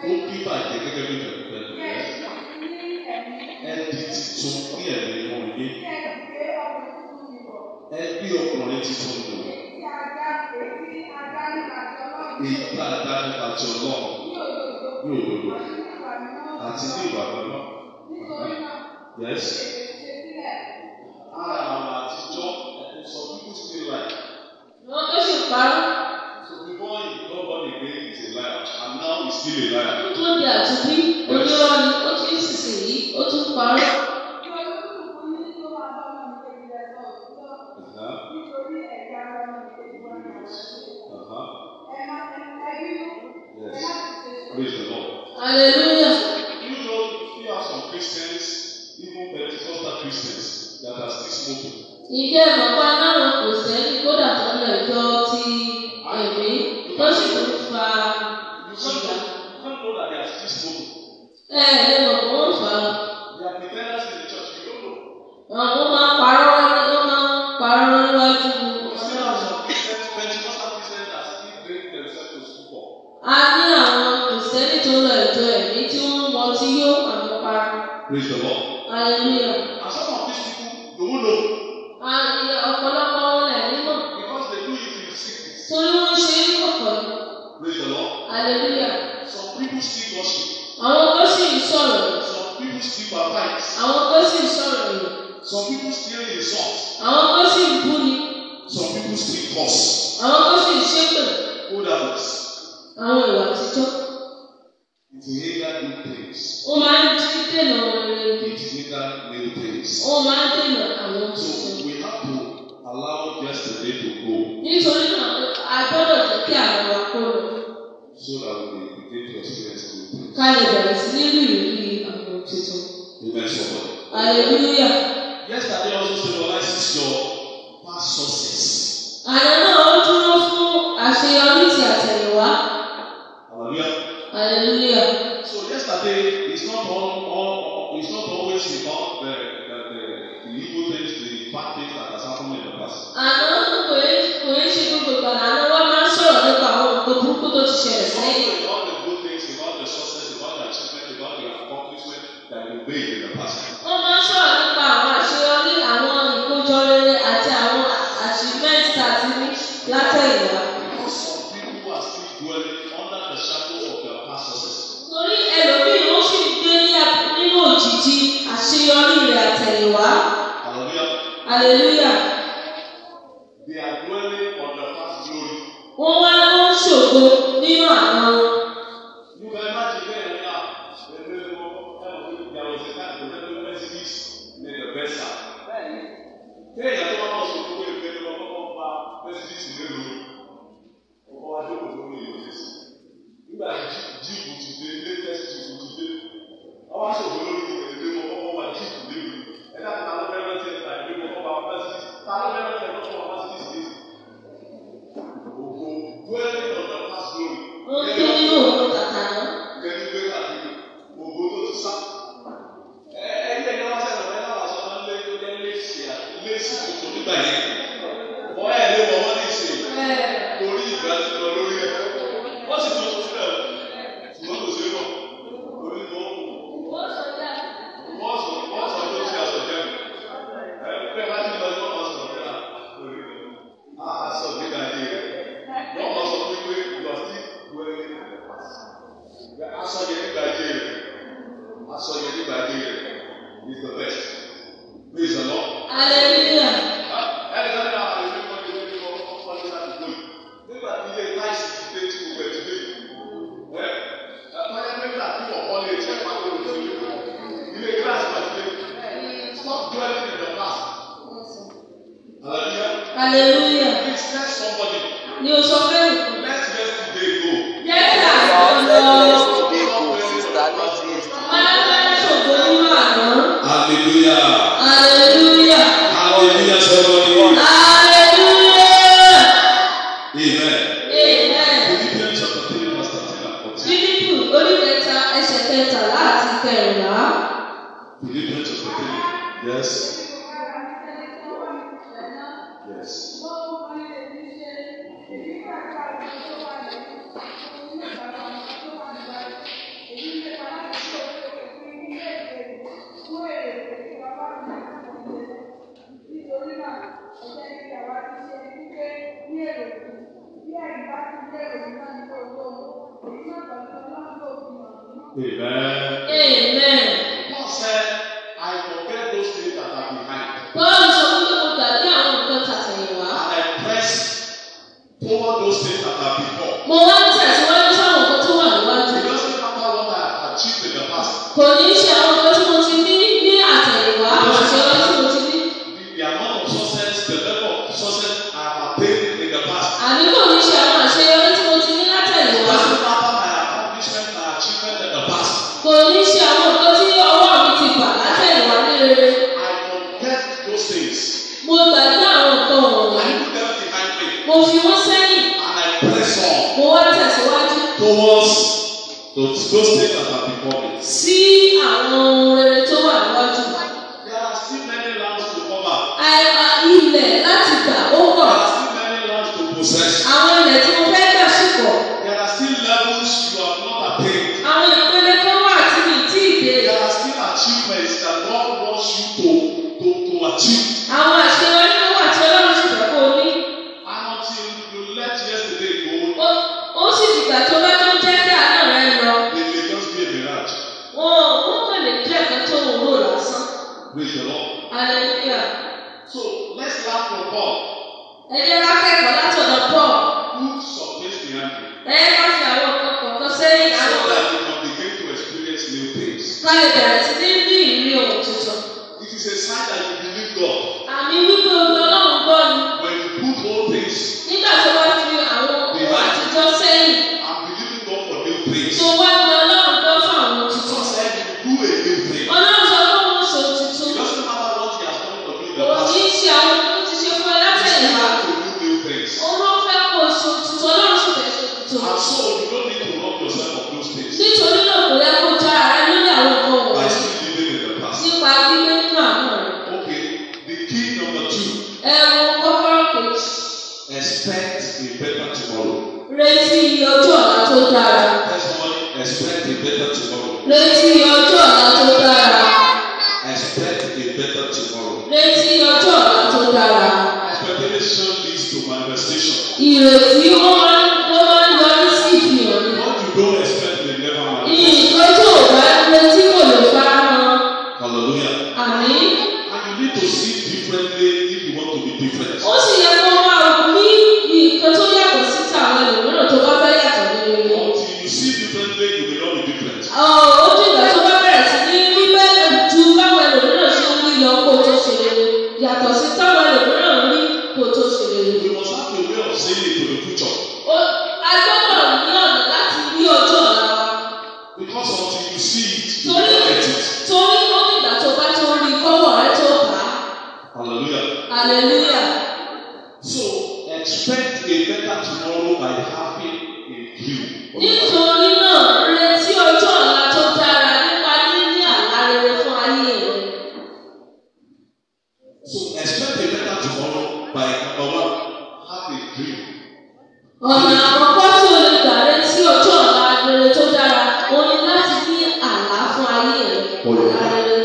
Speaker 1: tó bí bàjẹ́ gẹ́gẹ́ bí pẹ̀lú ẹbí tuntun ní ẹ̀mí wọn yé ẹbí ọkùnrin tuntun lò èyí tá a dá nípa ti ọlọ́run ní òdodo àti ní ìwà lọ́nà. Yes. Ara àwọn àtijọ́ ẹ̀kọ́ sọ people still lie.
Speaker 2: Wọ́n tó sì parọ́.
Speaker 1: So before he got born again he is a liar and now he is still a liar.
Speaker 2: Ó tó di àtúnbí. Onírọ́ ni ó tún ìsinsìnyí. Ó tún parọ́.
Speaker 1: Uh-huh. Uh-huh. Yes. Praise the Lord.
Speaker 2: Hallelujah.
Speaker 1: You know, we have some Christians, even Pentecostal Christians, that are still smoking.
Speaker 2: Ǹjẹ́ bàbá aláwọ̀ kò sẹ́ni kódà tó ń lọ ìjọ ti ẹ̀mí tó sì tún fa
Speaker 1: You can't
Speaker 2: ṣìgá?
Speaker 1: know, you can't know that they are still smoking.
Speaker 2: Ẹ ẹ̀ lè mọ̀ pé wọ́n ń fa
Speaker 1: Their pretenders in the church, you don't know.
Speaker 2: àwọn máa ń parọ́ wọ́n máa ń parọ́ níwájú.
Speaker 1: But still have some Christians, Pentecostal Christians, that still drink themselves to stupor.
Speaker 2: A ní àwọn kò sẹ́ni tó ń lọ ìjọ ẹ̀mí tí wọ́n ń mọ tí yóò àwọn parọ́.
Speaker 1: Praise the Lord.
Speaker 2: Hallelujah.
Speaker 1: And some of these people, they won't know.
Speaker 2: Àyè ọ̀pọ̀lọpọ̀ wọn là nímọ̀
Speaker 1: Because they do it in secret.
Speaker 2: torí wọ́n ṣe é kọ̀kọ̀ ni.
Speaker 1: Praise the Lord.
Speaker 2: Hallelujah.
Speaker 1: Some people still worship.
Speaker 2: Àwọn kan sì ń sọ̀rọ̀.
Speaker 1: Some people still baptize.
Speaker 2: Àwọn kan sì ń sọ̀rọ̀ yìí.
Speaker 1: Some people still insult.
Speaker 2: Àwọn kan sì ń búni.
Speaker 1: Some people still curse.
Speaker 2: Àwọn kan sì ń ṣépè.
Speaker 1: Old habits.
Speaker 2: àwọn ìwà àtijọ́.
Speaker 1: It will hinder new things.
Speaker 2: Ó máa ń jí dènà rere.
Speaker 1: It will hinder new things.
Speaker 2: Ó máa ń dènà àwọn
Speaker 1: So
Speaker 2: tuntun.
Speaker 1: we have to allow yesterday to go
Speaker 2: nítorí náà a gbọ́dọ̀ jẹ́ kí àwọn wa kó lọ
Speaker 1: so that we may begin to experience new things.
Speaker 2: ká lè bẹ̀rẹ̀ sí ní rí ìrírí àwọn ohun tuntun.
Speaker 1: Amen. Somebody.
Speaker 2: Hallelujah.
Speaker 1: Yesterday also symbolizes your past success.
Speaker 2: Àná náà ó dúró fún àṣeyọrí ti àtẹ̀yìnwá.
Speaker 1: Hallelujah.
Speaker 2: Hallelujah.
Speaker 1: So yesterday is not all, all it's not always about the, the, the, the evil things, the bad things that has happened in the past.
Speaker 2: Àná kò yé kò yé ṣe gbogbo ìgbà àná wọ́n máa ń sọ̀rọ̀ nípa àwọn nǹkan burúkú tó ti ṣẹlẹ̀
Speaker 1: It's
Speaker 2: sẹ́yìn.
Speaker 1: also about the good things, about the success, about the achievement, about the accomplishment that you made in the past.
Speaker 2: Wọ́n máa ń sọ̀rọ̀ nípa àwọn àṣeyọrí, àwọn ìkójọ rere àti àwọn achievement tá a ti ní látẹ̀yìnwá.
Speaker 1: Because some people are still dwelling under the shadow of their past success.
Speaker 2: Torí ẹlòmíì ó sì ń gbé ní ab- nínú òjìji àṣeyọrí rẹ̀ àtẹ̀yìnwá.
Speaker 1: Hallelujah.
Speaker 2: Hallelujah.
Speaker 1: They are dwelling on the past glory.
Speaker 2: Wọ́n wá ló ń ṣògo nínú àná wọn.
Speaker 1: You can imagine where they are. They may go, oh, there was a time they were doing messages, made the best out.
Speaker 3: bẹ́ẹ̀ ni
Speaker 1: Téèyàn tó bá náà sọ fún ìwé ìgbẹ́ lọ́wọ́ kọ́kọ́ gba messages ìlú lórí. Ọkọ Adéwò ló ní ìlú Jésù. Nígbà tí jíìpù ti dé, latest jíìpù ti dé. Àwọn aṣòfin lórí ìwé ìgbé wọn kọ́kọ́ wà jíìpù léwu. Ẹ dákun ta ló fẹ́ rántí ẹ̀ka ìgbé wọn kọ́kọ́ wà messages. Ta ló fẹ́ rántí ẹ̀ka ìgbé wọn kọ́kọ́ wà messages? Òkò dwelling on the past glory.
Speaker 2: Ó ń gbé nínú òun kàkà náà.
Speaker 1: Ah, sọ nígbà yẹn rẹ̀. Wọ́n mọ̀ sọ pé pé ìwà sí wẹ́rẹ́ ìdàgbàsí asọjẹ nígbà dé rẹ asọjẹ nígbà dé rẹ is the best praise the lord
Speaker 2: Hallelujah.
Speaker 1: ẹnìkanlá àlejò ìwọlé ìwọlé ọkọ ọdún láti gbòòrò nígbà tí ilé táìsì ti dé tí gbogbo ẹ ti dé ẹ àtàyẹ mẹ́ta tí ọkọ lè jẹ pàtó lòdì ilé gíláàsì láti dé stop dwelling in the past hallelujah
Speaker 2: Hallelujah.
Speaker 1: please tell somebody
Speaker 2: Ni o sọ pé
Speaker 1: let yesterday go
Speaker 2: jẹ́ kí àwọn lọ. Wọ́n á fẹ́ ṣògo nínú àná.
Speaker 1: hallelujah
Speaker 2: Hallelujah.
Speaker 1: hallelujah somebody
Speaker 2: Hallelujah.
Speaker 1: amen.
Speaker 2: Amen.
Speaker 1: Philippians chapter 3, verse 13 and 14.
Speaker 2: Bíbélì orí kẹta ẹsẹ̀ kẹtàlá àti kẹrìnlá.
Speaker 1: Philippians chapter 3. Yes. Yes. Amen.
Speaker 2: Amen.
Speaker 1: Paul said, I forget those things that are behind,
Speaker 2: Bọ́ọ̀lù sọ fún mi mo gbàgbé àwọn nǹkan tàtẹ̀yìnwá.
Speaker 1: and I press toward those things that are before.
Speaker 2: Mo wá ń tẹ̀síwájú sáwọn nǹkan tó wà níwájú.
Speaker 1: It doesn't matter what I have achieved in the past,
Speaker 2: Kò ní í ṣe àwọn nǹkan tí mo ti ní ní àtẹ̀yìnwá àti ọlọ́run tí mo ti ní.
Speaker 1: the, the amount of success, the level of success I have attained in the past.
Speaker 2: Àní kò ní í ṣe àwọn àṣeyọrí tí mo ti ní
Speaker 1: It
Speaker 2: látẹ̀yìnwá.
Speaker 1: doesn't matter my accomplishment, my achievement in the past.
Speaker 2: Kò ní í ṣe àwọn nǹkan tí ọwọ́ mi ti gbà látẹ̀yìnwá ní rere.
Speaker 1: I forget those things.
Speaker 2: Mo gbàgbé àwọn nǹkan
Speaker 1: I
Speaker 2: wọ̀nyí.
Speaker 1: put them behind me.
Speaker 2: Mo fi wọ́n sẹ́yìn.
Speaker 1: and I press on
Speaker 2: Mo wá tẹ̀síwájú
Speaker 1: towards those, those things that are before me.
Speaker 2: sí àwọn ohun rere tó wà níwájú.
Speaker 1: There are still many lands to cover.
Speaker 2: Àìmọ̀ ilẹ̀ láti gbà ó
Speaker 1: There
Speaker 2: pọ̀.
Speaker 1: are still many lands to possess.
Speaker 2: Àwọn ilẹ̀ tí mo fẹ́ gbà sì pọ̀.
Speaker 1: There are still levels you have not attained.
Speaker 2: Àwọn ìpele kan wà tí mi ì tí ì dé.
Speaker 1: There are still achievements that God wants you to, to, to achieve.
Speaker 2: Àwọn àṣeyọrí kan wà tí Ọlọ́run sì fẹ́ kó o ní.
Speaker 1: And until you let yesterday go,
Speaker 2: Ó- Ó sì dìgbà tó bá tó jẹ́ kí àná rẹ lọ.
Speaker 1: it may just be a mirage.
Speaker 2: Wọn ò
Speaker 1: things
Speaker 2: nígbà tó bá fi àwọn ohun àtijọ́ sẹ́yìn
Speaker 1: I'm believing God for new things.
Speaker 2: tó wá ní ọlọ́run gbọ́ fún àwọn tuntun.
Speaker 1: God said you do a new thing.
Speaker 2: ọlọ́run sọ pé òun sọ
Speaker 1: It
Speaker 2: tuntun
Speaker 1: doesn't matter what He has done for you in the
Speaker 2: kò
Speaker 1: past.
Speaker 2: ní ṣe àwọn ohun tó ti ṣe fún ẹ
Speaker 1: He's
Speaker 2: látẹ̀yìnwá.
Speaker 1: trying to do new things.
Speaker 2: òun ló fẹ́ kó o sọ tuntun ọlọ́run sì fẹ́ sọ
Speaker 1: And
Speaker 2: tuntun.
Speaker 1: so you don't need to rob yourself of those things
Speaker 2: nítorí náà kò yẹ kó o já ara ẹ lórí àwọn nǹkan
Speaker 1: by
Speaker 2: wọ̀nyí
Speaker 1: still living in the past.
Speaker 2: nípa gbígbé nínú àwọn rẹ̀.
Speaker 1: Okay, the key number two
Speaker 2: ẹ wo kọ́kọ́rọ́ kejì
Speaker 1: expect a better tomorrow.
Speaker 2: retí ọjọ́ ọ̀la tó dára
Speaker 1: Tell somebody expect a better tomorrow.
Speaker 2: retí ọjọ́ ọ̀la tó dára
Speaker 1: Expect a better tomorrow.
Speaker 2: retí ọjọ́ ọ̀la tó dára.
Speaker 1: Expectation leads to manifestation.
Speaker 2: ìrètí ó máa ń ó máa ń yọrí sí ìfihàn ni.
Speaker 1: What you don't expect will never manifest.
Speaker 2: nǹkan tó o bá retí kò lè fara mọ́
Speaker 1: Hallelujah.
Speaker 2: àní.
Speaker 1: And you need to see differently if you want to be different.
Speaker 2: ó sì yẹ kó wá ní nǹkan tó yàtọ̀ sí tàwọn ẹlòmíràn tó bá fẹ́ yàtọ̀ nínú ilé.
Speaker 1: Until you see differently, you will not be different.
Speaker 2: ó dìgbà tó bá bẹ̀rẹ̀ sí ní rí bẹ́ẹ̀ ju báwọn ẹlòmíràn ṣe ń rí lọ kó o tó ṣe rere yàtọ̀ sí táwọn ẹlòmíràn ń rí kó o tó ṣe rere.
Speaker 1: We must have a way of seeing into the future.
Speaker 2: Ó- a gbọ́dọ̀ ní ọ̀nà láti rí ọjọ́ ọ̀la wa
Speaker 1: Because until you see it, you will
Speaker 2: torí
Speaker 1: not get it.
Speaker 2: torí ó dìgbà tó bá tó rí kọ́wọ́ rẹ tó bá
Speaker 1: Hallelujah.
Speaker 2: hallelujah.
Speaker 1: So expect a better tomorrow by having a dream. for your life.
Speaker 2: Nítorí náà, retí ọjọ́ ọ̀la tó dára nípa níní àlá rere fún ayé rẹ.
Speaker 1: So expect a better tomorrow by number one, have a dream.
Speaker 2: Ọ̀nà àkọ́kọ́ tí o lè gbà retí ọjọ́ ọ̀la rere tó dára, òun ni láti ní àlá fún ayé rẹ. Àlá rere.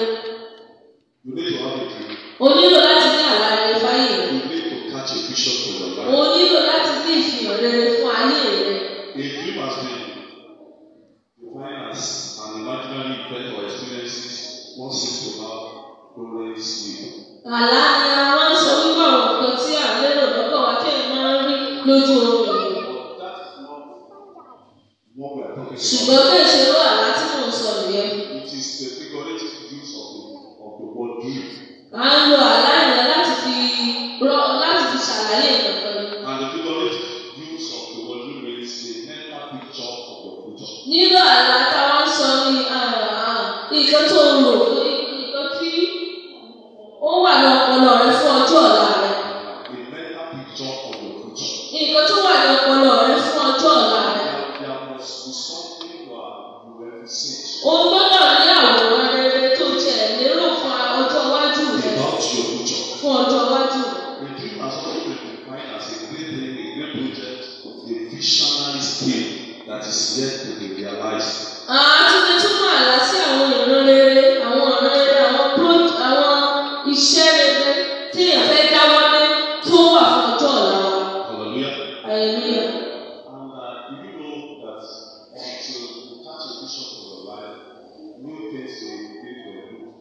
Speaker 1: You need to have a dream.
Speaker 2: O nílò láti ní àlá rere fún ayé rẹ.
Speaker 1: You need to catch a vision for your
Speaker 2: O
Speaker 1: life.
Speaker 2: nílò láti ní ìfihàn rere fún ayé rẹ.
Speaker 1: A dream has been defined as an imaginary event or experiences one seems to have glorious with.
Speaker 2: Àlá ni a máa ń sọ wípé àwọn nǹkan tí à ń lérò lọ́kàn wa kí ẹ máa ń rí lójú oorun
Speaker 1: But
Speaker 2: ènìyàn.
Speaker 1: that's not what we are talking
Speaker 2: Ṣùgbọ́n
Speaker 1: about.
Speaker 2: bẹ́ẹ̀ ṣe ló àlá tí mò ń sọ nìyẹn.
Speaker 1: It is the figurative use of the, of the word dream.
Speaker 2: À ń lo àlá yẹn láti fi rọ láti fi ṣàlàyé nǹkan ni.
Speaker 1: And the figurative use of the word dream means a mental picture of your future.
Speaker 2: Nínú àlá táwọn ń sọ ní nǹkan tó ń lò nǹkan tí ó wà ní ọpọlọ rẹ fún ọjọ́ ọ̀la rẹ.
Speaker 1: A mental picture of your future.
Speaker 2: Nǹkan tó wà ní ọpọlọ rẹ fún ọjọ́ ọ̀la rẹ.
Speaker 1: There, there must be something you are you have seen
Speaker 2: O gbọ́dọ̀ ní àwòrán rere tó jẹ́ lérò fún ọjọ́ iwájú rẹ
Speaker 1: about your future.
Speaker 2: fún ọjọ́ iwájú rẹ.
Speaker 1: A dream has always been defined as a great thing, a great project, a visionary scheme that is yet to be realized.
Speaker 2: Àti lè túmọ̀ àlá sí àwọn ìran rere, àwọn ọ̀ràn rere, àwọn pro- àwọn iṣẹ́ rere tí èèyàn fẹ́ dáwọ́lé tó wà fún ọjọ́ ọ̀la wa.
Speaker 1: Hallelujah.
Speaker 2: Hallelujah.
Speaker 1: And uh, do you know that until you catch a vision for your life, new things will begin to improve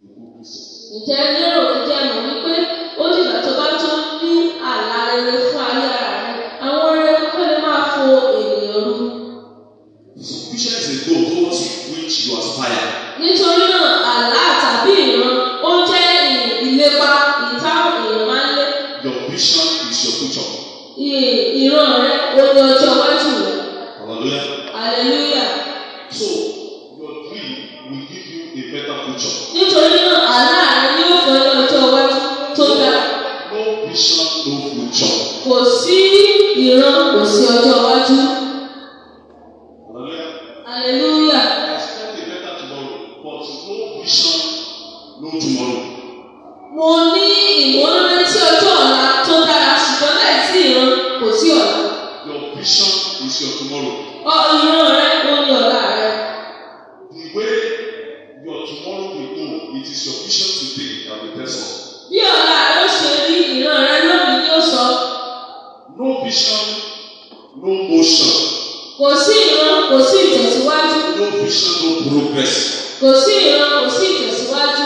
Speaker 1: the good business.
Speaker 2: Ǹjẹ́ lérò ǹjẹ́ mọ̀ wípé ó dìgbà tó bá tó ní àlá rere fún ayé ara rẹ̀, àwọn rere pípẹ́ lè máa fo ènìyàn rú.
Speaker 1: So vision is a goal towards which you aspire.
Speaker 2: Nítorí náà, àlá tàbí ìran ó jẹ́ ì- ìlépa ìtàwọn èèyàn máa ń lé.
Speaker 1: Your vision is your future.
Speaker 2: Ì- Ìran rẹ̀ ó ní ọjọ́ iwájú rẹ̀.
Speaker 1: Hallelujah.
Speaker 2: Hallelujah.
Speaker 1: So your dream will give you a better future.
Speaker 2: Nítorí náà, àlá rẹ̀ yóò fọ ní ọjọ́ iwájú tó dára.
Speaker 1: No vision, no future.
Speaker 2: Kò sí ìran, kò sí ọjọ́ iwájú.
Speaker 1: Hallelujah.
Speaker 2: Hallelujah.
Speaker 1: expect a better tomorrow but no vision no tomorrow
Speaker 2: Mo ní ìmọ̀lára tí ọjọ́ ọ̀la tó dára ṣùgbọ́n láì sí ìran kò sí ọ̀la.
Speaker 1: your vision is your tomorrow
Speaker 2: Ọ ìran rẹ ó ní ọ̀la rẹ.
Speaker 1: the way your tomorrow will go it is your vision today that will tell us
Speaker 2: Bí ọ̀la rẹ ó ṣe rí ìran rẹ lónìí ni ó sọ.
Speaker 1: no vision no motion
Speaker 2: Kò sí ìran kò sí ìtẹ̀síwájú.
Speaker 1: no vision no progress
Speaker 2: Kò sí ìran kò sí ìtẹ̀síwájú.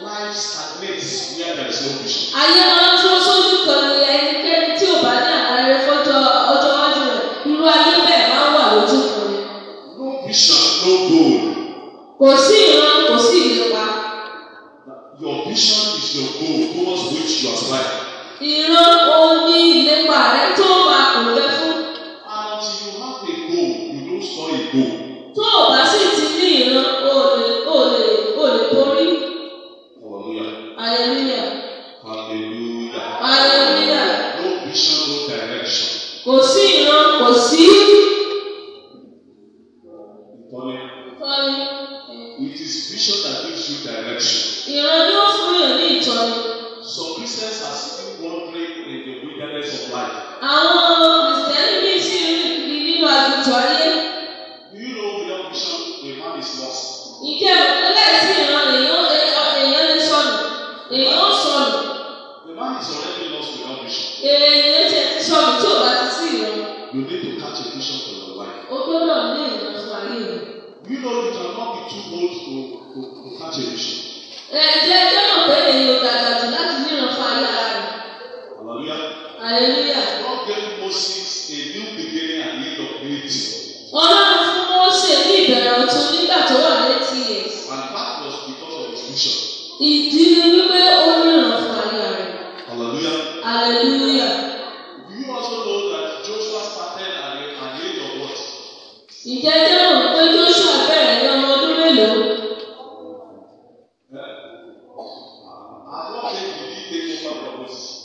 Speaker 1: life stagnates where there is no vision
Speaker 2: Ayé máa ń dúró sójú kan ní ẹnikẹ́ni tí ò bá ní àlá rere fọ́jọ́ ọjọ́ iwájú rẹ̀. Irú ayé bẹ́ẹ̀ máa ń wà lójú kan ni.
Speaker 1: no vision no goal
Speaker 2: Kò sí ìran kò sí ìlépa.
Speaker 1: your vision is your goal towards which you aspire
Speaker 2: Ìran ó ní ìlépa sí
Speaker 1: Ìtọ́ni.
Speaker 2: ìtọ́ni.
Speaker 1: It is vision that gives you direction.
Speaker 2: Ìran ni wọ́n fún yàn ní ìtọ́ni.
Speaker 1: Some Christians are still wandering in the wilderness of life.
Speaker 2: Àwọn Kìrìsìtẹ́nì ní sí ní nínú àgùntàn ayé.
Speaker 1: Do you know without vision, a man is lost?
Speaker 2: Ìjẹ́ ọ̀pẹ́lẹ́sì ìran èèyàn èèyàn lè sọnù. Èèyàn ó sọnù.
Speaker 1: The man is already lost without vision.
Speaker 2: Èèyàn ṣe ti sọnù tí ò bá ti sí ìran.
Speaker 1: You need to catch a vision for your life.
Speaker 2: Ó gbọ́dọ̀ ní ìran fún ayé rẹ̀.
Speaker 1: Do you know you cannot be too old to, to, to catch a vision?
Speaker 2: Ẹ̀jẹ̀ ẹjọ́ mọ̀ pé èèyàn ò dàgbà jù láti ní ìran fún ayé ara rẹ̀.
Speaker 1: Hallelujah.
Speaker 2: Hallelujah.
Speaker 1: God gave Moses a new beginning and end of eighty.
Speaker 2: Ọlọ́run fún Mósè ní ìbẹ̀rẹ̀ ọ̀tun nígbà tó wà létí yẹn.
Speaker 1: And that was because of his vision.
Speaker 2: Ìdí ni wípé ó ní ìran fún ayé rẹ̀.
Speaker 1: Hallelujah.
Speaker 2: Hallelujah.
Speaker 1: Do you also know that Joshua started at the, at the age of what?
Speaker 2: Ǹjẹ́ jẹ́ mọ̀ pé Joshua bẹ̀rẹ̀ ní ọmọ ọdún mélòó?
Speaker 1: Eh? At what age did he take over from Moses?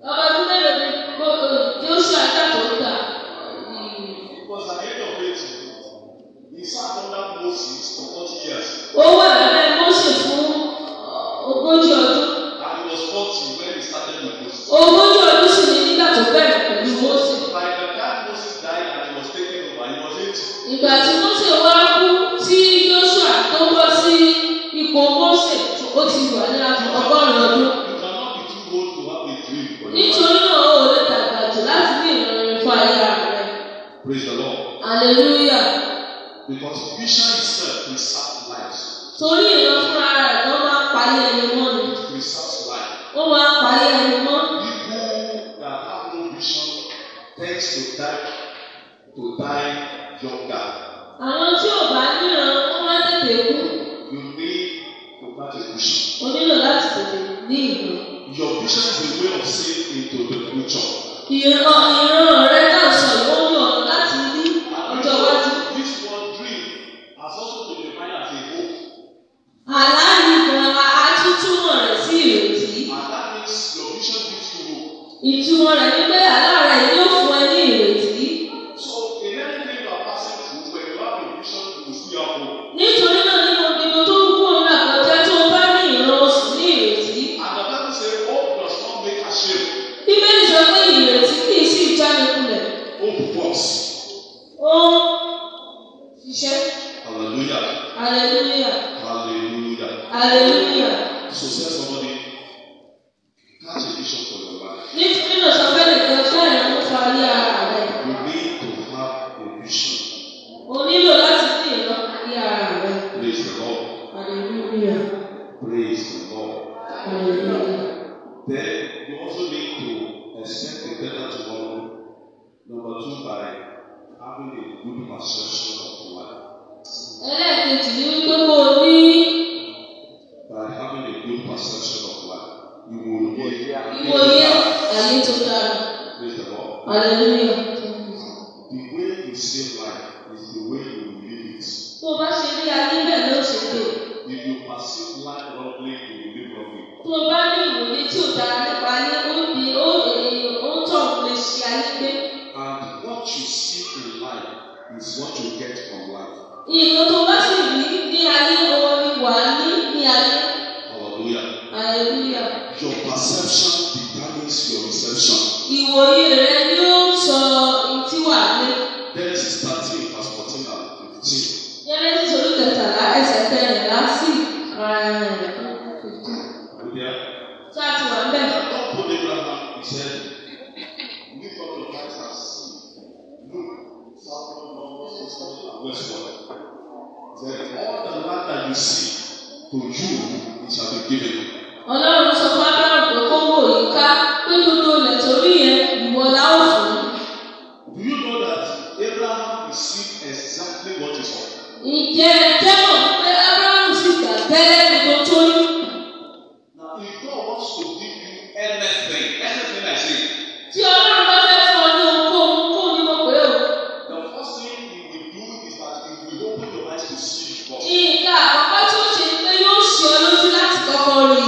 Speaker 2: Ọmọ ọdún mélòó ni gbogbo Joshua dàpọ̀ gbà?
Speaker 1: It was at the age of eighty. He sat under Moses for forty years.
Speaker 2: Ó wà lábẹ́ Mósè fún ogójì ọdún.
Speaker 1: And he was forty when he started with Moses.
Speaker 2: Ogójì ọdún sì ni nígbà tó bẹ̀rẹ̀ pẹ̀lú Mósè.
Speaker 1: By the time Moses died and he was taken over, he was eighty.
Speaker 2: Ìgbà tí Mósè wá kú tí Joshua tó bọ́ sí ipò Mósè, ó ti wà ní ọgọ́rùn-ún ọdún.
Speaker 1: You cannot be too old to have a dream for your life.
Speaker 2: Nítorí náà ó lè dàgbà jù láti ní ìrànlọ́rẹ́ fún ayé rẹ̀.
Speaker 1: Praise the Lord.
Speaker 2: Hallelujah.
Speaker 1: Because vision itself preserves life.
Speaker 2: Torí ìran fúnra rẹ̀ ló máa ń parí ẹni mọ́ ni.
Speaker 1: It preserves life.
Speaker 2: ó máa ń parí ẹni mọ́.
Speaker 1: People that have no vision tends to die to die younger.
Speaker 2: Àwọn tí ò bá níran wọ́n máa ń tètè kú.
Speaker 1: You need to catch a vision.
Speaker 2: O nílò láti tètè ní ìlú.
Speaker 1: Your vision is a way of seeing into the future.
Speaker 2: Ìran ìran rẹ náà sọ ìwọ ní ọ̀nà láti ní
Speaker 1: And
Speaker 2: ọjọ́ iwájú.
Speaker 1: this one dream has also been defined as a hope.
Speaker 2: Àlá yìí gan a tún túmọ̀ rẹ̀ sí ìrètí.
Speaker 1: And that means your vision gives you hope.
Speaker 2: Ìtumọ̀ rẹ̀ ni pé àlá rẹ̀ yóò fún ẹ ní ìrètí.
Speaker 1: So in anything you are passing through, when you have a vision, you will still have hope.
Speaker 2: Nítorí náà nínú gbogbo tó kú òun náà kọjá tó o bá ní ìran oṣù ní ìrètí.
Speaker 1: And the Bible says, hope does not make ashamed.
Speaker 2: Bíbélì sọ pé ìrètí kì í sí ìjánikulẹ̀.
Speaker 1: Hope works.
Speaker 2: Ó ṣiṣẹ́.
Speaker 1: Hallelujah.
Speaker 2: Hallelujah.
Speaker 1: Hallelujah.
Speaker 2: Hallelujah.
Speaker 1: So say somebody, catch a vision for your life.
Speaker 2: Nítorí náà sọ pé nìkan jẹ́ ìrànwọ́ fún ayé ara rẹ̀.
Speaker 1: You need to have a vision.
Speaker 2: O nílò láti ní ìran ayé ara rẹ̀.
Speaker 1: Praise the Lord.
Speaker 2: Hallelujah.
Speaker 1: Praise the Lord.
Speaker 2: Hallelujah.
Speaker 1: Then you also need to expect a better tomorrow. Number two, by having a good perception of life.
Speaker 2: Ẹlẹ́ẹ̀kejì ni wípé kó o ní
Speaker 1: By having a good perception of life, you will be
Speaker 2: ìwòye ayé tó dára.
Speaker 1: Praise the Lord.
Speaker 2: Hallelujah.
Speaker 1: The way you see life is the way you will live it.
Speaker 2: Tó o bá ṣe rí ayé bẹ́ẹ̀ ló ṣe dé.
Speaker 1: If you perceive life wrongly, you will live wrongly.
Speaker 2: Tó o bá ní ìwòye tí ò dára nípa ayé, ó di ó èèyàn ó ń tọ̀ lè ṣe ayé gbé.
Speaker 1: And what you see in life is what you get from life.
Speaker 2: Nǹkan tó o bá sì rí ní ayé, òun ni wàá ní ní ayé.
Speaker 1: Hallelujah.
Speaker 2: Hallelujah.
Speaker 1: Your perception determines your reception.
Speaker 2: Ìwòye rẹ ni ó ń sọ ìtí wà ní.
Speaker 1: Genesis 13, verse 14 and 15.
Speaker 2: Genesis orí kẹtàlá ẹsẹ̀ kẹrìnlá sí ààrẹ.
Speaker 1: Are you there?
Speaker 2: Ṣé a ti wà bẹ́ẹ̀?
Speaker 1: And God told Abraham, He said, Lift up your eyes and see. Look, south, north, east, and westward. He said, All the land that you see, to you it shall be given.
Speaker 2: Ọlọ́run sọ fún Ábẹ́rù pé kó wò yí ká pé gbogbo ilẹ̀ tó rí yẹn ìwọ la ó fún.
Speaker 1: Do you know that Abraham received exactly what he saw?
Speaker 2: Ǹjẹ́ jẹ́mọ̀ pé Ábẹ́rù sì gbà tẹ́lẹ̀ gbogbo tó rí?
Speaker 1: Now, if God wants to give you anything, anything I say,
Speaker 2: Tí Ọlọ́run bá fẹ́ fún ọ ní ohunkóhun kó ní mo pè ó.
Speaker 1: the first thing he will do is that he will open your eyes to see you first.
Speaker 2: Nǹkan àkọ́kọ́ tí ó ṣe ni pé yóò ṣe ọ lójú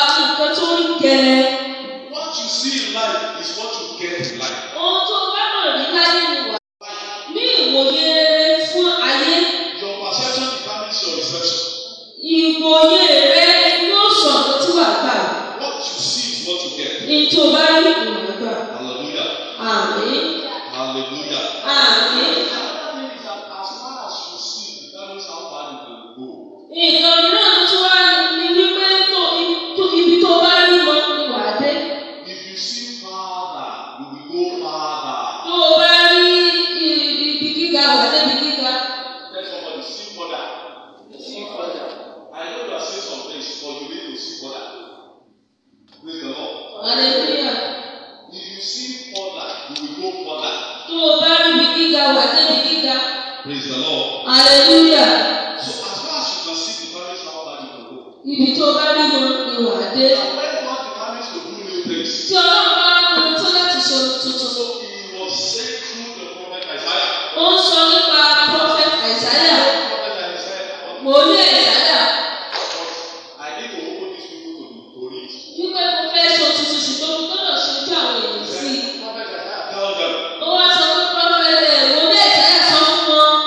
Speaker 2: rẹ.
Speaker 1: What you see in life is what you get in life.
Speaker 2: Ohun tó o bá mọ̀ rí láyé ni wà. Ní ìwòye rere fún ayé,
Speaker 1: Your perception determines your reception.
Speaker 2: ìwòye rẹ yóò sọ nǹkan tí wàá gbà.
Speaker 1: What you see is what you get.
Speaker 2: Ní tó o bá rí ìwòye gbà.
Speaker 1: Hallelujah.
Speaker 2: Àmín.
Speaker 1: Hallelujah.
Speaker 2: Àmín.
Speaker 1: Another thing is that as far as you see determines how far you can go.
Speaker 2: Nǹkan mìíràn tó tún wá ni wípé tó tó ibi tó o bá rí lọ ni wàá dé.
Speaker 1: If you see farther, you will go farther.
Speaker 2: Tó o bá rí i- ibi gíga wàá débi gíga.
Speaker 1: Tell somebody, see further.
Speaker 3: sí ìfọ̀jà.
Speaker 1: I know you are saying some things, but you need to see further. Praise the Lord.
Speaker 2: Hallelujah.
Speaker 1: If you see further, you will go further.
Speaker 2: Tó o bá rí ibi gíga wàá débi gíga.
Speaker 1: Praise the Lord.
Speaker 2: Hallelujah.
Speaker 1: So as far as you can see determines how far you can go.
Speaker 2: Ibi tó o bá rí lọ ni wàá dé.
Speaker 1: And when God determines to do new things,
Speaker 2: Tí ọlọ́run bá rán ohun tó láti ṣe ohun tuntun.
Speaker 1: So he was sent through the prophet Isaiah.
Speaker 2: Ó ń sọ nípa Prophet Isaiah.
Speaker 1: Prophet Isaiah, I
Speaker 2: Mo ní Isaiah
Speaker 1: need to open these people to, to read.
Speaker 2: wípé mo fẹ́ ṣe ohun tuntun ṣùgbọ́n mo gbọ́dọ̀ ṣe ojú àwọn èèyàn sí
Speaker 1: Prophet
Speaker 2: i.
Speaker 1: Isaiah tell them
Speaker 2: Ó wá sọ fún Prophet ẹ̀ mo ní Isaiah sọ fún wọn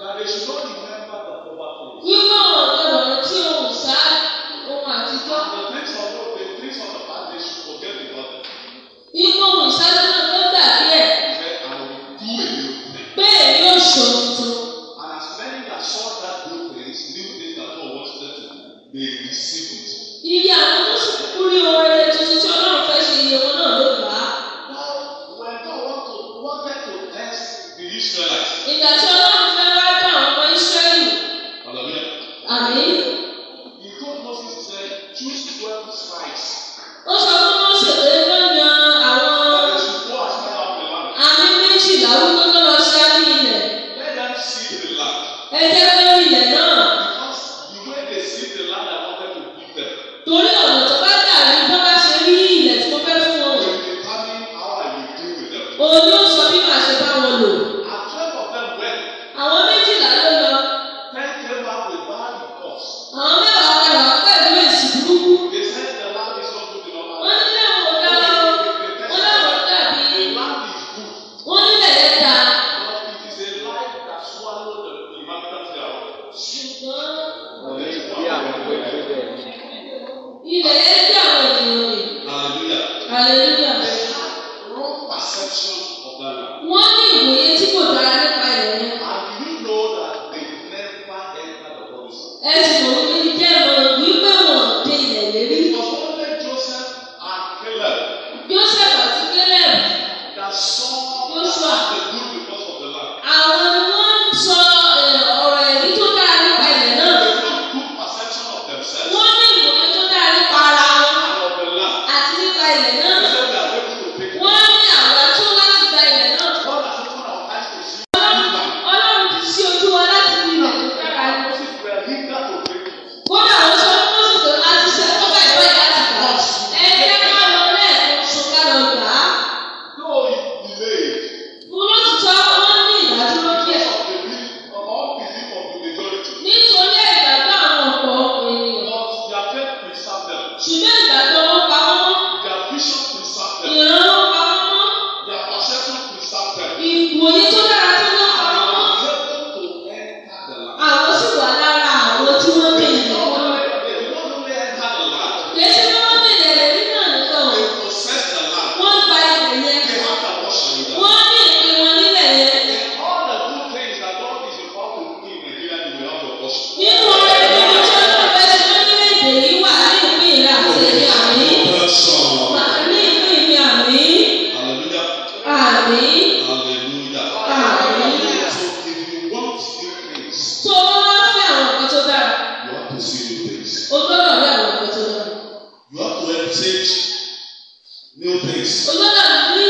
Speaker 1: that they should not remember the former things.
Speaker 2: wípé wọn ò gbọdọ̀ rántí ohun ṣá ohun àtijọ́.
Speaker 1: The things of old, the things of the past, they should forget about them.
Speaker 2: Wípé ohun ìṣáájú náà ló dàbí ẹ̀
Speaker 1: He said, I will do a new thing.
Speaker 2: pé èyí ò ṣe ohun tuntun.
Speaker 1: And as many that saw that new things, new things that God wants them to do, they received it.
Speaker 2: Iye àwọn tó sì kúkú rí ohun rere tuntun tí Ọlọ́run fẹ́ ṣe iye wọn náà ló gbà á.
Speaker 1: Now, when God want to, wanted to test the Israelites,
Speaker 2: Ìgbà tí Ọlọ́run fẹ́ wá dá àwọn ọmọ Ísírẹ́lì
Speaker 1: hallelujah.
Speaker 2: àmì,
Speaker 1: He told Moses, he said, choose 12 spies
Speaker 2: ó sọ fún Mósè pé kó yan àwọn
Speaker 1: that they should go as far out the land.
Speaker 2: àmì méjìlá wípé kó lọ ṣáájú ilẹ̀.
Speaker 1: Let them see the land.
Speaker 2: Ẹ jẹ́ kó rí ilẹ̀ náà.
Speaker 1: Because the way they see the land, I wanted to give them.
Speaker 2: Torí ọ̀nà tó bá dà ní bó bá ṣe rí ilẹ̀ tí mo fẹ́ fún
Speaker 1: They
Speaker 2: wọn.
Speaker 1: determine how I will deal with them.
Speaker 2: Òun yóò sọ bí màá ṣe bá wọn lò.
Speaker 1: And 12 of them went.
Speaker 2: Àwọn méjìlá ló lọ.
Speaker 1: 10 came back with bad reports.
Speaker 2: Àwọn mẹ́wàá padà wá pẹ̀lú èsì burúkú.
Speaker 1: They said the land is not good enough.
Speaker 2: Wọ́n ní lẹ́wọ̀n ò dá o. Wọ́n lẹ́wọ̀n dàbí.
Speaker 1: The land is good,
Speaker 2: Wọ́n nílẹ̀ lẹ́ta.
Speaker 1: but it is a lie that swallowed the inhabitants thereof.
Speaker 2: Ṣùgbọ́n
Speaker 1: Hallelujah.
Speaker 2: ilẹ̀ yẹn gbé àwọn ènìyàn rìn. Hallelujah.
Speaker 1: They had wrong perception of the land.
Speaker 2: Wọ́n ní ìwòye tí kò dára nípa ilẹ̀ yẹn.
Speaker 1: And you know that they never enter the promised land.
Speaker 2: Ẹ sì mọ̀ wípé jíjẹ́ mọ̀ wípé wọ́n dé ilẹ̀ lérí.
Speaker 1: It was only Joseph and Caleb
Speaker 2: Joseph àti Caleb,
Speaker 1: that saw
Speaker 2: Joshua.
Speaker 1: that the good because of the land.
Speaker 2: àwọn ni wọ́n ń sọ eh, ọ̀rọ̀ ẹ̀rí tó dára nípa ilẹ̀
Speaker 1: They
Speaker 2: náà.
Speaker 1: had good perception of themselves
Speaker 2: Wọ́n ní ìwòye tó dára nípa ara wọn
Speaker 1: and of the land.
Speaker 2: àti nípa ilẹ̀
Speaker 1: They
Speaker 2: náà.
Speaker 1: said they are ready to take it.
Speaker 2: Wọ́n ní àwọn tó láti gba ilẹ̀ náà.
Speaker 1: God has opened our eyes to see the land.
Speaker 2: Ọlọ́run ti ṣí ojú wa láti rí ilẹ̀ tó dára ni.
Speaker 1: And Moses were hindered to take it.
Speaker 2: Kódà ó sọ fún Mósè pé a ti ṣe tó báyìí báyìí láti gbà. Ẹ jẹ́ ká lọ lẹ́ẹ̀kan oṣù ká lọ gbà á.
Speaker 1: Though it delayed
Speaker 2: Olótùtọ́ wọ́n ní ìdádúró díẹ̀.
Speaker 1: because of the belief- of all belief of the majority,
Speaker 2: Nítorí ìgbàgbọ́ àwọn ọ̀pọ̀ ènìyàn.
Speaker 1: but their faith preserved them.
Speaker 2: Ṣùgbọ́n ìgbàgbọ́ wọn pa wọ́n mọ́.
Speaker 1: Their vision preserved them.
Speaker 2: Ìran wọn pa wọ́n mọ́.
Speaker 1: Their perception preserved them.
Speaker 2: Ìwòye tó dára tó wọ́n pa wọ́n mọ́. Àwọn sì wà lára àwọn tí wọ́n dé ilẹ̀ náà. Kèsì ni wọ́n dé ilẹ̀ lẹ́rí náà nìkan. Wọ́n gba ilẹ̀ yẹn. Wọ́n ní ìpín wọn nílẹ̀ yẹn. Nínú orin tí wọ́n tí wọ́n fẹ́ ṣe lórílẹ̀-èdè yìí wà ní ìpín ìlà àti èmi àmì. Màá ní ìpín mi àmì. Àmì. Tó o bá wá fẹ́ àwọn nǹkan tó dára, o gbọ́dọ̀ rí àwọn nǹkan tó dára.
Speaker 1: New things
Speaker 2: O gbọ́dọ̀ ní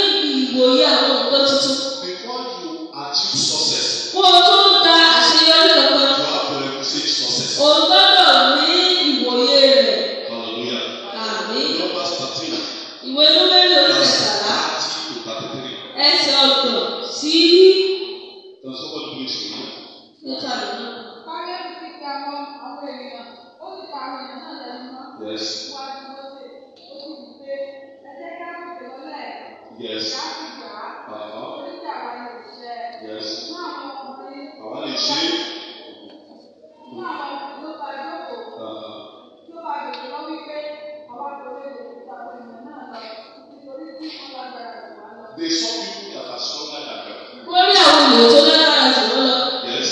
Speaker 2: ìwòye àwọn nǹkan tuntun.
Speaker 1: before you achieve success,
Speaker 2: Kó o tó ń ta àṣeyọrí
Speaker 1: you
Speaker 2: kankan,
Speaker 1: have to represent success.
Speaker 2: o gbọ́dọ̀ ní ìwòye rẹ̀.
Speaker 1: Hallelujah.
Speaker 2: Àmì.
Speaker 1: Numbers 13,
Speaker 2: Ìwé Númérì orí
Speaker 1: verse
Speaker 2: kẹtàlá,
Speaker 1: 30 to 33.
Speaker 2: ẹsẹ̀ ọ̀gbọ̀n sí
Speaker 1: Can somebody please read?
Speaker 2: mẹ́tàlélọ́gbọ̀n.
Speaker 3: Kálẹ́bù ti ta àwọn àwọn ènìyàn, ó sì ta àwọn ènìyàn náà lẹ́nu mọ́.
Speaker 1: Yes.
Speaker 3: Wọ́n á ti mọ́ sí i, ó sì wí pé
Speaker 1: There's some people that are stronger than them.
Speaker 2: Wọ́n rí àwọn ènìyàn tó lágbára jù wọ́n lọ.
Speaker 1: Yes.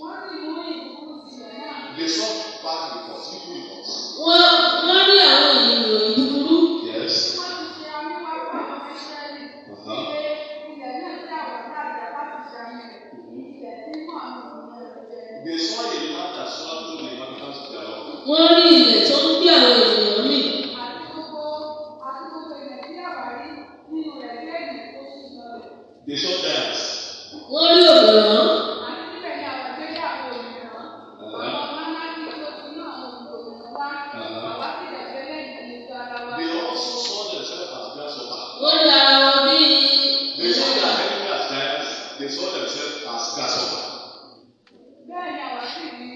Speaker 3: wọ́n sì mú ìbùkún sílẹ̀ náà.
Speaker 1: There's some bad reports, evil reports.
Speaker 2: Wọ́n wọ́n rí àwọn ìròyìn búburú.
Speaker 1: Yes.
Speaker 3: wọ́n ti ṣe amúwá fún àwọn ìṣẹ́lẹ̀.
Speaker 1: Uh-huh.
Speaker 3: pé ilẹ̀ náà tí àwọn dáadáa láti ṣe àmì rẹ̀. ilẹ̀ tí mú àwọn ọmọ rẹ̀ jẹ.
Speaker 1: There's why a man that swallowed the inhabitants of their Lord.
Speaker 2: Wọ́n rí ilẹ̀ tó ń gbé àwọn ènìyàn mì.
Speaker 3: àti gbogbo àti gbogbo ilẹ̀ tí àwa rí nínú rẹ̀ lẹ́yìn tó ṣì lọlẹ̀.
Speaker 1: There's some giants.
Speaker 2: Wọ́n rí òmìnirán.
Speaker 3: àti níbẹ̀ ni àwọn ìgbé yà àwọn òmìnira. àwọn mánádì tó ti mú àwọn òmìnira wá. àwa sì lè gbé lẹ́yìn ìlú ara wa.
Speaker 1: They also saw themselves as grasshoppers.
Speaker 2: Wọ́n rí ara wọn bí
Speaker 1: They saw their enemy as giants. They saw themselves as grasshoppers.
Speaker 3: bẹ́ẹ̀ ni àwa sì rí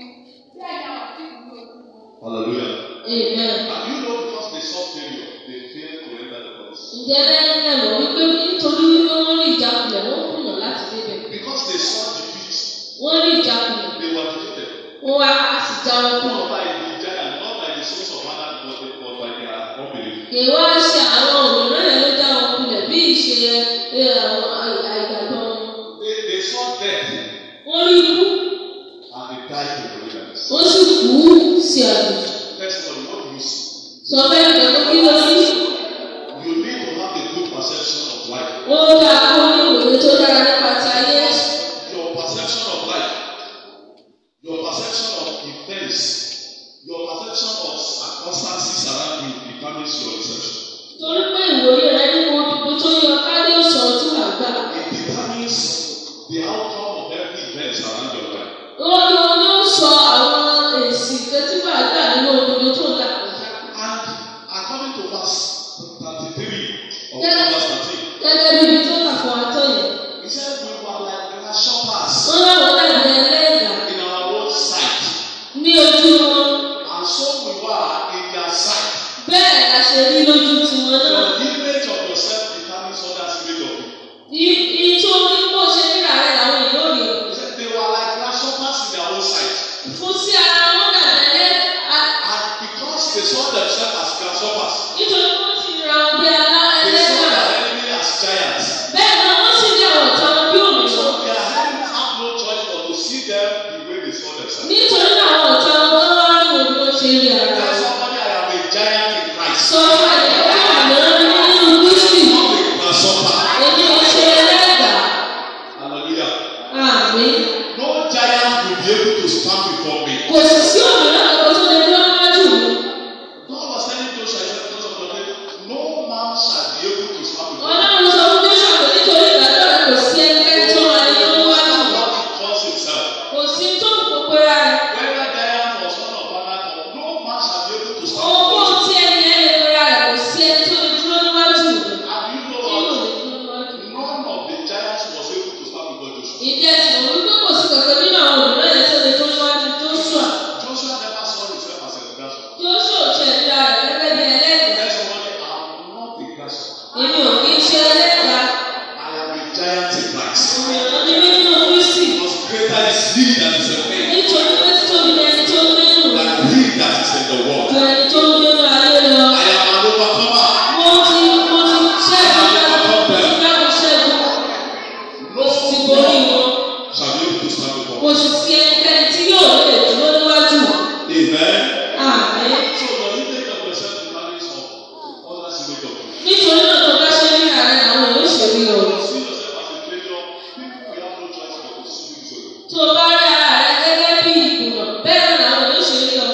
Speaker 3: bẹ́ẹ̀ ni àwa sì rí ojú wọn.
Speaker 1: Hallelujah.
Speaker 2: èèyàn.
Speaker 1: And you know because they saw failure, they failed to enter the promise.
Speaker 2: Ǹjẹ́ lẹ́yìn náà mọ̀ wípé nítorí wípé wọ́n rí ìjákulẹ̀ wọ́n kùnà láti débẹ̀.
Speaker 1: Because they saw defeat,
Speaker 2: Wọ́n rí ìjákulẹ̀.
Speaker 1: they were defeated.
Speaker 2: Wọ́n wá a sì já wọn kù.
Speaker 1: Not by the giant, not by the sons of Anak, but, but by their unbelief.
Speaker 2: Kì í wá ṣe àwọn òmìnirán yẹn ló já wọn kulẹ̀ bí ìṣe ẹ àwọn àì- àìgbàgbọ́ wọn.
Speaker 1: They, they saw death
Speaker 2: Wọ́n rí ikú.
Speaker 1: and they died in ignorance.
Speaker 2: Wọ́n sì kú sí àgbẹ̀.
Speaker 1: Testimony, what do you see?
Speaker 2: Sọ fẹ́ẹ́ nìkan tó kí lọ rí.
Speaker 1: You need to have a good perception of life.
Speaker 2: Ó dá kó ní ìwòye tó dára nípa ti ayé.
Speaker 1: Your perception of life, your perception of events, your perception of circumstances around you determines your reception.
Speaker 2: Torí pé ìwòye rẹ ní mo dúdú tó yọ kárí òsàn tó wà gbà.
Speaker 1: It determines the outcome of every event around your life.
Speaker 2: Ó ní o ní ó sọ àwọn èsì kẹtígbà gbà nínú òdodo tó là kọjá.
Speaker 1: And according to verse 33 of
Speaker 2: Yeah.
Speaker 1: Proverbs 13,
Speaker 2: Gẹ́gẹ́ bí ibi tó kà fún wa tó yẹn.
Speaker 1: he said, We were like grasshoppers
Speaker 2: Wọ́n láwọn dàbí ẹlẹ́dàá
Speaker 1: in our own sight,
Speaker 2: ní ojú wọn.
Speaker 1: and so we were in their sight.
Speaker 2: Bẹ́ẹ̀ la ṣe rí lójú tiwọn náà.
Speaker 1: Your image of yourself determines others' image of you.
Speaker 2: I- Ìtú orí bó ṣe ríra rẹ̀ làwọn èèyàn ò rí o.
Speaker 1: He said, They were like grasshoppers in their own sight.
Speaker 2: Fún sí ara wọn dàbí ẹlẹ́dàá.
Speaker 1: And because they saw themselves as grasshoppers,
Speaker 2: Nítorí wọ́n ti ra wọn bí alá
Speaker 1: they saw
Speaker 2: ẹlẹ́dàá.
Speaker 1: their enemy as giants.
Speaker 2: Bẹ́ẹ̀ náà wọ́n sì rí àwọn ọ̀tá wọn bí òmìnira.
Speaker 1: So their enemy had no choice but to see them the way they saw themselves.
Speaker 2: Nítorí náà àwọn ọ̀tá wọn bá wá rí wọn bí wọ́n ṣe rí ara
Speaker 1: Tell
Speaker 2: wọn.
Speaker 1: somebody I am a giant in Christ.
Speaker 2: Sọ fún àyè pé àmìrán nínú Kristi.
Speaker 1: Not a grasshopper.
Speaker 2: Èmi ò ṣe ẹlẹ́dàá.
Speaker 1: Hallelujah.
Speaker 2: Àmín.
Speaker 1: No giant will be able to stand before me.
Speaker 2: Kò sì sí òmìnira kankan tó lè dúró níwájú mi.
Speaker 1: God was telling Joshua, he said, "Because of your faith, no man shall be able to stand before me.
Speaker 2: Ọlọ́run sọ fún Joshua pé nítorí ìgbàgbọ́ rẹ kò sí ẹnikẹ́ni tó máa ní lọ́wọ́ wájú.
Speaker 1: Whether God calls himself,
Speaker 2: Kò sí tó ń kó pera rẹ̀.
Speaker 1: Whether Diane was one of Anna or no man shall be able to
Speaker 2: Ohunkóhun
Speaker 1: stand.
Speaker 2: tí ẹni yẹn lè pera rẹ̀ kò sí ẹni tó lè dúró níwájú mi.
Speaker 1: And you
Speaker 2: Tí yóò
Speaker 1: know
Speaker 2: lè dúró níwájú mi.
Speaker 1: none of the giants was able to stand before Joshua.
Speaker 2: Ìdí ẹ̀sìn òun wípé kò sí kankan nínú àwọn òmìnira yẹn tó lè dúró níwájú Joshua.
Speaker 1: Joshua never saw himself as a grasshopper.
Speaker 2: Joshua ò ṣe ìlera rẹ̀ gẹ́gẹ́ bí ẹlẹ́dàá.
Speaker 1: Tell somebody, I'm not a grasshopper.
Speaker 2: Èmi ò kí ń ṣe ẹlẹ́dàá.
Speaker 1: I am a giant in Christ.
Speaker 2: Òmìnira ni mí nínú Kristi.
Speaker 1: Because greater is he that is in me
Speaker 2: Nítorí pé títóbi ni ẹni tó ń gbé nù rẹ̀.
Speaker 1: than he that is in the world.
Speaker 2: Ju ẹni tó ń gbé nù ayé lọ.
Speaker 1: I am an overcomer.
Speaker 2: Mo ti mo ti ṣẹ́gun dáadáa, mo ti dáhùn ṣẹ́gun.
Speaker 1: No
Speaker 2: Mo ti borí
Speaker 1: one
Speaker 2: wọn.
Speaker 1: shall be able to stand before
Speaker 2: Kò
Speaker 1: me.
Speaker 2: sì sí ẹnikẹ́ni tí yóò lè dúró níwájú wọn.
Speaker 1: Amen.
Speaker 2: Àmín.
Speaker 1: So your image of yourself determines on others' image of you.
Speaker 2: Nítorí náà tó bá ṣe rí ààrẹ àwọn èèyàn ṣe rí o. Tó o bá rí ara rẹ gẹ́gẹ́ bí ìkùnà, bẹ́ẹ̀ náà làwọn èèyàn ṣe rí ọ.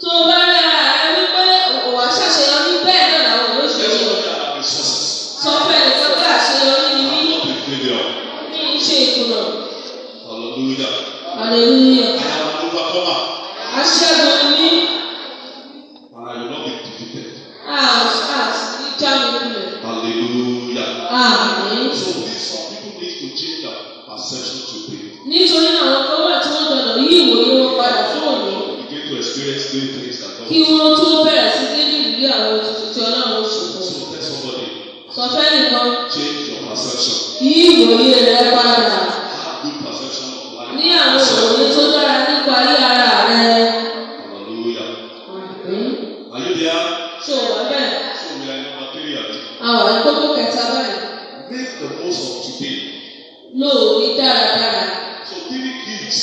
Speaker 2: Tó o bá rí ara rẹ wípé òwà ṣàṣeyọrí, bẹ́ẹ̀ náà làwọn èèyàn ṣe rí ọ. Sọ fún ẹnìkan pé àṣeyọrí ni mí, mi ń ṣe ìkùnà. Hallelujah. Aṣẹ́gun ni mí, àṣìjà mi kulẹ̀. Àmín. Nítorí àwọn kan wà tí wọ́n gbọdọ̀ yí ìwòye wọn padà fún òní.
Speaker 1: Experience new things that
Speaker 2: kí
Speaker 1: God.
Speaker 2: wọ́n tó bẹ̀rẹ̀ sí ní ìrírí àwọn tuntun tí ọlọ́run ṣe fún un.
Speaker 1: So tell somebody,
Speaker 2: sọ fẹ́ni kan
Speaker 1: change your perception.
Speaker 2: yí ìwòye rẹ padà
Speaker 1: Have good perception of life.
Speaker 2: ní àwọn ìwòye tó dára nípa yí ara rẹ.
Speaker 1: Hallelujah.
Speaker 2: Àmín.
Speaker 1: Are you there?
Speaker 2: lò ní dáradára.
Speaker 1: So three keys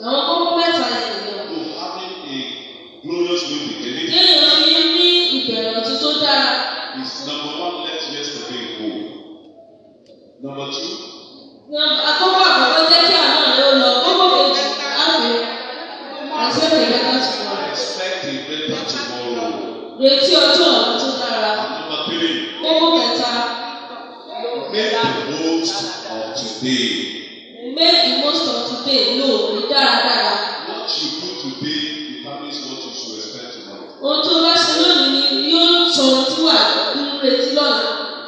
Speaker 2: Àwọn kókó mẹ́fà ni
Speaker 1: to
Speaker 2: ènìyàn.
Speaker 1: having a glorious living
Speaker 2: Kí
Speaker 1: today
Speaker 2: èèyàn fi ní ìbẹ̀rẹ̀ ọ̀tun tó dára.
Speaker 1: is number one, let yesterday go. Number two,
Speaker 2: Àkọ́kọ́ àkọ́kọ́ jẹ́ kí àná rẹ̀ ó lọ. Kókó kejì á fi àṣẹ ìrẹ́ká tó wà.
Speaker 1: expect a better tomorrow.
Speaker 2: Retí ọjọ́ ọ̀la tó dára.
Speaker 1: And number three,
Speaker 2: Kókó kẹta
Speaker 1: make the most of today.
Speaker 2: make the most of today lò ní dáradára.
Speaker 1: What you do today determines what you should expect tomorrow.
Speaker 2: Ohun tó bá ṣe lónìí ni yóò sọ ohun tí wà ń retí lọ́la.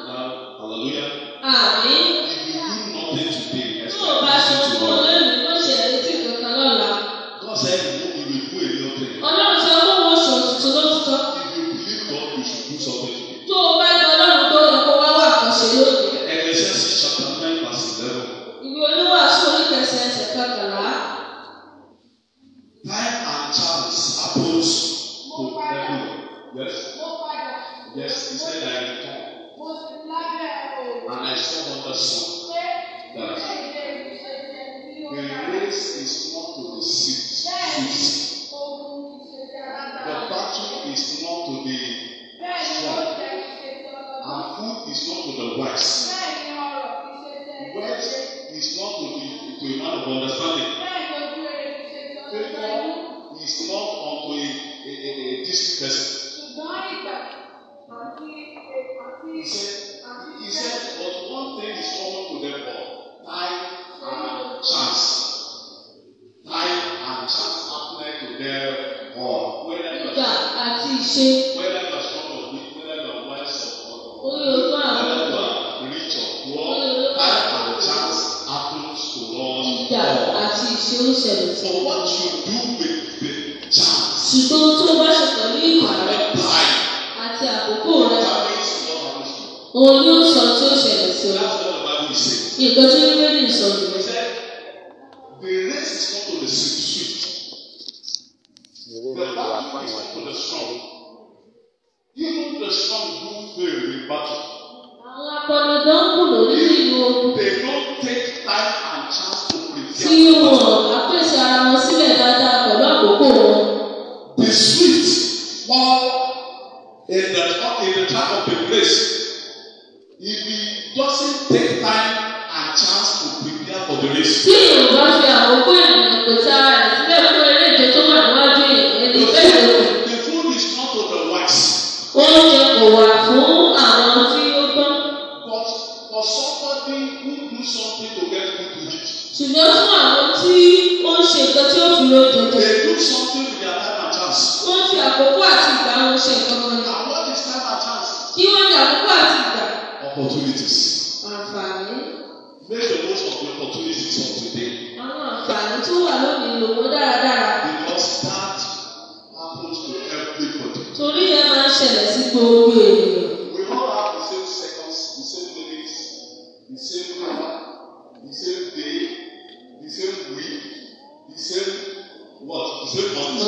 Speaker 1: Now, hallelujah.
Speaker 2: Àmín.
Speaker 1: If you do nothing today,
Speaker 2: Tí
Speaker 1: expect
Speaker 2: ò bá ṣe
Speaker 1: nothing
Speaker 2: ohun tó
Speaker 1: tomorrow.
Speaker 2: lónìí, wọ́n ṣe retí kankan lọ́la.
Speaker 1: God said, you will do a new thing.
Speaker 2: Ọlọ́run sọ pé wọ́n sọ tuntun lótìtọ́.
Speaker 1: If you believe God, you should do something today.
Speaker 2: Tó o bá gba Ọlọ́run gbọ́ lọ kó wá wà àkànṣe lónìí.
Speaker 1: Ecclesiastes chapter 9, verse 11.
Speaker 2: Ìwé oníwàásù oníkẹsẹ̀ ẹsẹ̀ kọkànlá.
Speaker 1: Time and chance happens to everyone. Yes, yes, he said I am time. And I saw another son that the race is not to the swift. swift. The battle is not to the and food is not to the wise. Wealth is not to the to a man of understanding. Favor is not unto a, a, a, a distant person. He said, he said, but one thing is common to them all. Time and chance. Time and chance apply to them all. Whether you
Speaker 2: Ìgbà
Speaker 1: are
Speaker 2: àti ìṣe
Speaker 1: whether you are strong or weak, whether you are wise or or-
Speaker 2: orí ogún àwọn
Speaker 1: whether you are rich or poor, time and chance happens to us
Speaker 2: ìgbà
Speaker 1: all.
Speaker 2: àti ìṣe ń ṣẹlẹ̀
Speaker 1: So
Speaker 2: sí i.
Speaker 1: what you do with the chance,
Speaker 2: Ṣùgbọ́n ohun tó o bá ṣe pẹ̀lú ìwà rẹ
Speaker 1: the time,
Speaker 2: àti àkókò rẹ,
Speaker 1: determines what happens to you.
Speaker 2: òun ni ó sọ tí ó ṣẹlẹ̀ sí ọ.
Speaker 1: That's what the Bible is saying.
Speaker 2: Nǹkan tí Bíbélì ń sọ nìyẹn.
Speaker 1: He said, The race is not to the swift. The battle is not to the strong. Even the strong do fail in battle.
Speaker 2: Àwọn akọ́nidán kù lórí ìlú ogun
Speaker 1: They don't take time and chance to
Speaker 2: tí
Speaker 1: prepare for
Speaker 2: wọn
Speaker 1: battle.
Speaker 2: bá pèsè ara wọn sílẹ̀ dáadáa pẹ̀lú àkókò wọn.
Speaker 1: The swift fall in the in the trap of the race. If he doesn't take time and chance to prepare for the race,
Speaker 2: Tí èèyàn bá fi àkókò ènìyàn pèsè ara rẹ̀ sílẹ̀ fún eré ìje tó wà níwájú èèyàn ẹni
Speaker 1: the
Speaker 2: bẹ́ẹ̀ ló kù.
Speaker 1: food, the food is not to the wise.
Speaker 2: Oúnjẹ kò wà fún àwọn tí ó gbọ́n.
Speaker 1: But for somebody who do something to get food to eat,
Speaker 2: Ṣùgbọ́n fún àwọn tí ó ń ṣe nǹkan tí ó fi lóúnjẹ jẹ,
Speaker 1: they do something with their time and chance.
Speaker 2: wọ́n fi àkókò àti ìgbà wọn ṣe nǹkan kan ni.
Speaker 1: And what is time and chance?
Speaker 2: Kí wọ́n ní àkókò àti ìgbà?
Speaker 1: Opportunities.
Speaker 2: Àǹfààní.
Speaker 1: Make the most of the opportunities of today
Speaker 2: Àwọn àǹfààní tó wà lónìí lò wọ́n dáradára.
Speaker 1: because that happens to everybody.
Speaker 2: Torí ẹ máa ń ṣẹlẹ̀ sí gbogbo ènìyàn.
Speaker 1: We all have the same seconds, the same minutes, the same hour, the same day, the same week, the same what? The same month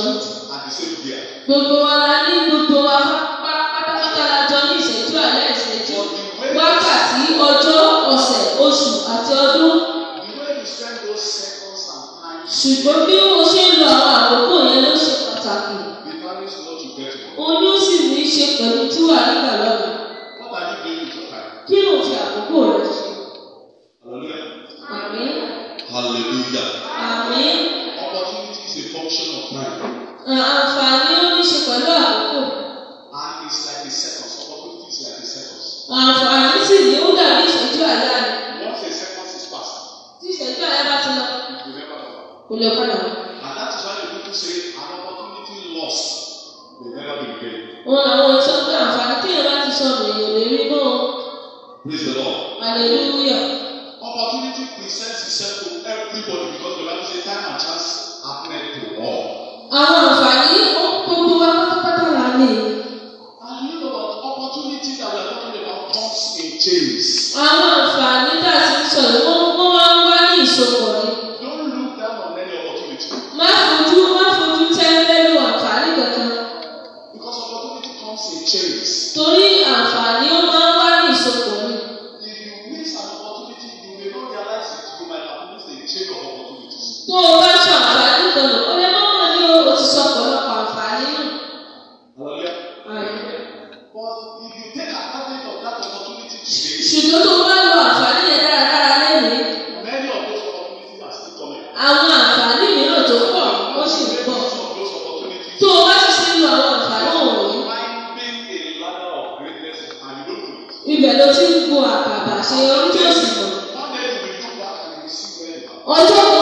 Speaker 1: and the same year.
Speaker 2: Gbogbo wa la ní gbogbo wa pátápátá la jọ ní ìṣẹ́jú àlẹ́
Speaker 1: But
Speaker 2: ìṣẹ́jú.
Speaker 1: the way
Speaker 2: Wákàtí, ọjọ́, ọ̀sẹ̀, oṣù àti ọdún.
Speaker 1: The way you spend those seconds and times
Speaker 2: Ṣùgbọ́n bí mo ṣe ń lo àwọn àkókò yẹn ló ṣe pàtàkì.
Speaker 1: determines what you get from.
Speaker 2: Òun ni ó sì ní í ṣe pẹ̀lú tí wà nígbà lọ́nà.
Speaker 1: What are you doing with your time?
Speaker 2: Kí ló fi àkókò rẹ̀ ṣe?
Speaker 1: Hallelujah.
Speaker 2: Àmín.
Speaker 1: Hallelujah.
Speaker 2: Àmín.
Speaker 1: Opportunity is a function of time.
Speaker 2: Àǹfààní ó ní í ṣe pẹ̀lú àkókò.
Speaker 1: And it's like a seconds. Opportunity is like a seconds.
Speaker 2: Àǹfààní sì ni ó dàbí ìṣẹ́jú àlẹ́ àná.
Speaker 1: Once a second is passed,
Speaker 2: Tí ìṣẹ́jú àlẹ́ bá ti lọ,
Speaker 1: you never know.
Speaker 2: kò lè padà wá.
Speaker 1: And that is why the people say an opportunity lost will never be regained.
Speaker 2: wọn àwọn tó gbé àǹfààní tí èèyàn bá ti sọ èèyàn lè rí mọ́
Speaker 1: Praise the Lord.
Speaker 2: hallelujah
Speaker 1: Opportunity presents itself to everybody because the Bible says time and chance are meant to all.
Speaker 2: àwọn àǹfààní ó gbogbo wa pátápátá là ní.
Speaker 1: And you know about opportunity that we are talking about comes in chains.
Speaker 2: àwọn àǹfààní tá a ti ń sọ yìí wọ́n wọ́n máa ń wá ní ìsopọ̀ ni.
Speaker 1: Don't look down on any opportunity
Speaker 2: má fojú má fojú tẹ́lẹ́lú àǹfààní kankan
Speaker 1: because opportunity comes in chains.
Speaker 2: torí àǹfààní ó máa ń wá ní ìsopọ̀ ni.
Speaker 1: If you miss an opportunity, you may not realize it.
Speaker 2: ọjọ́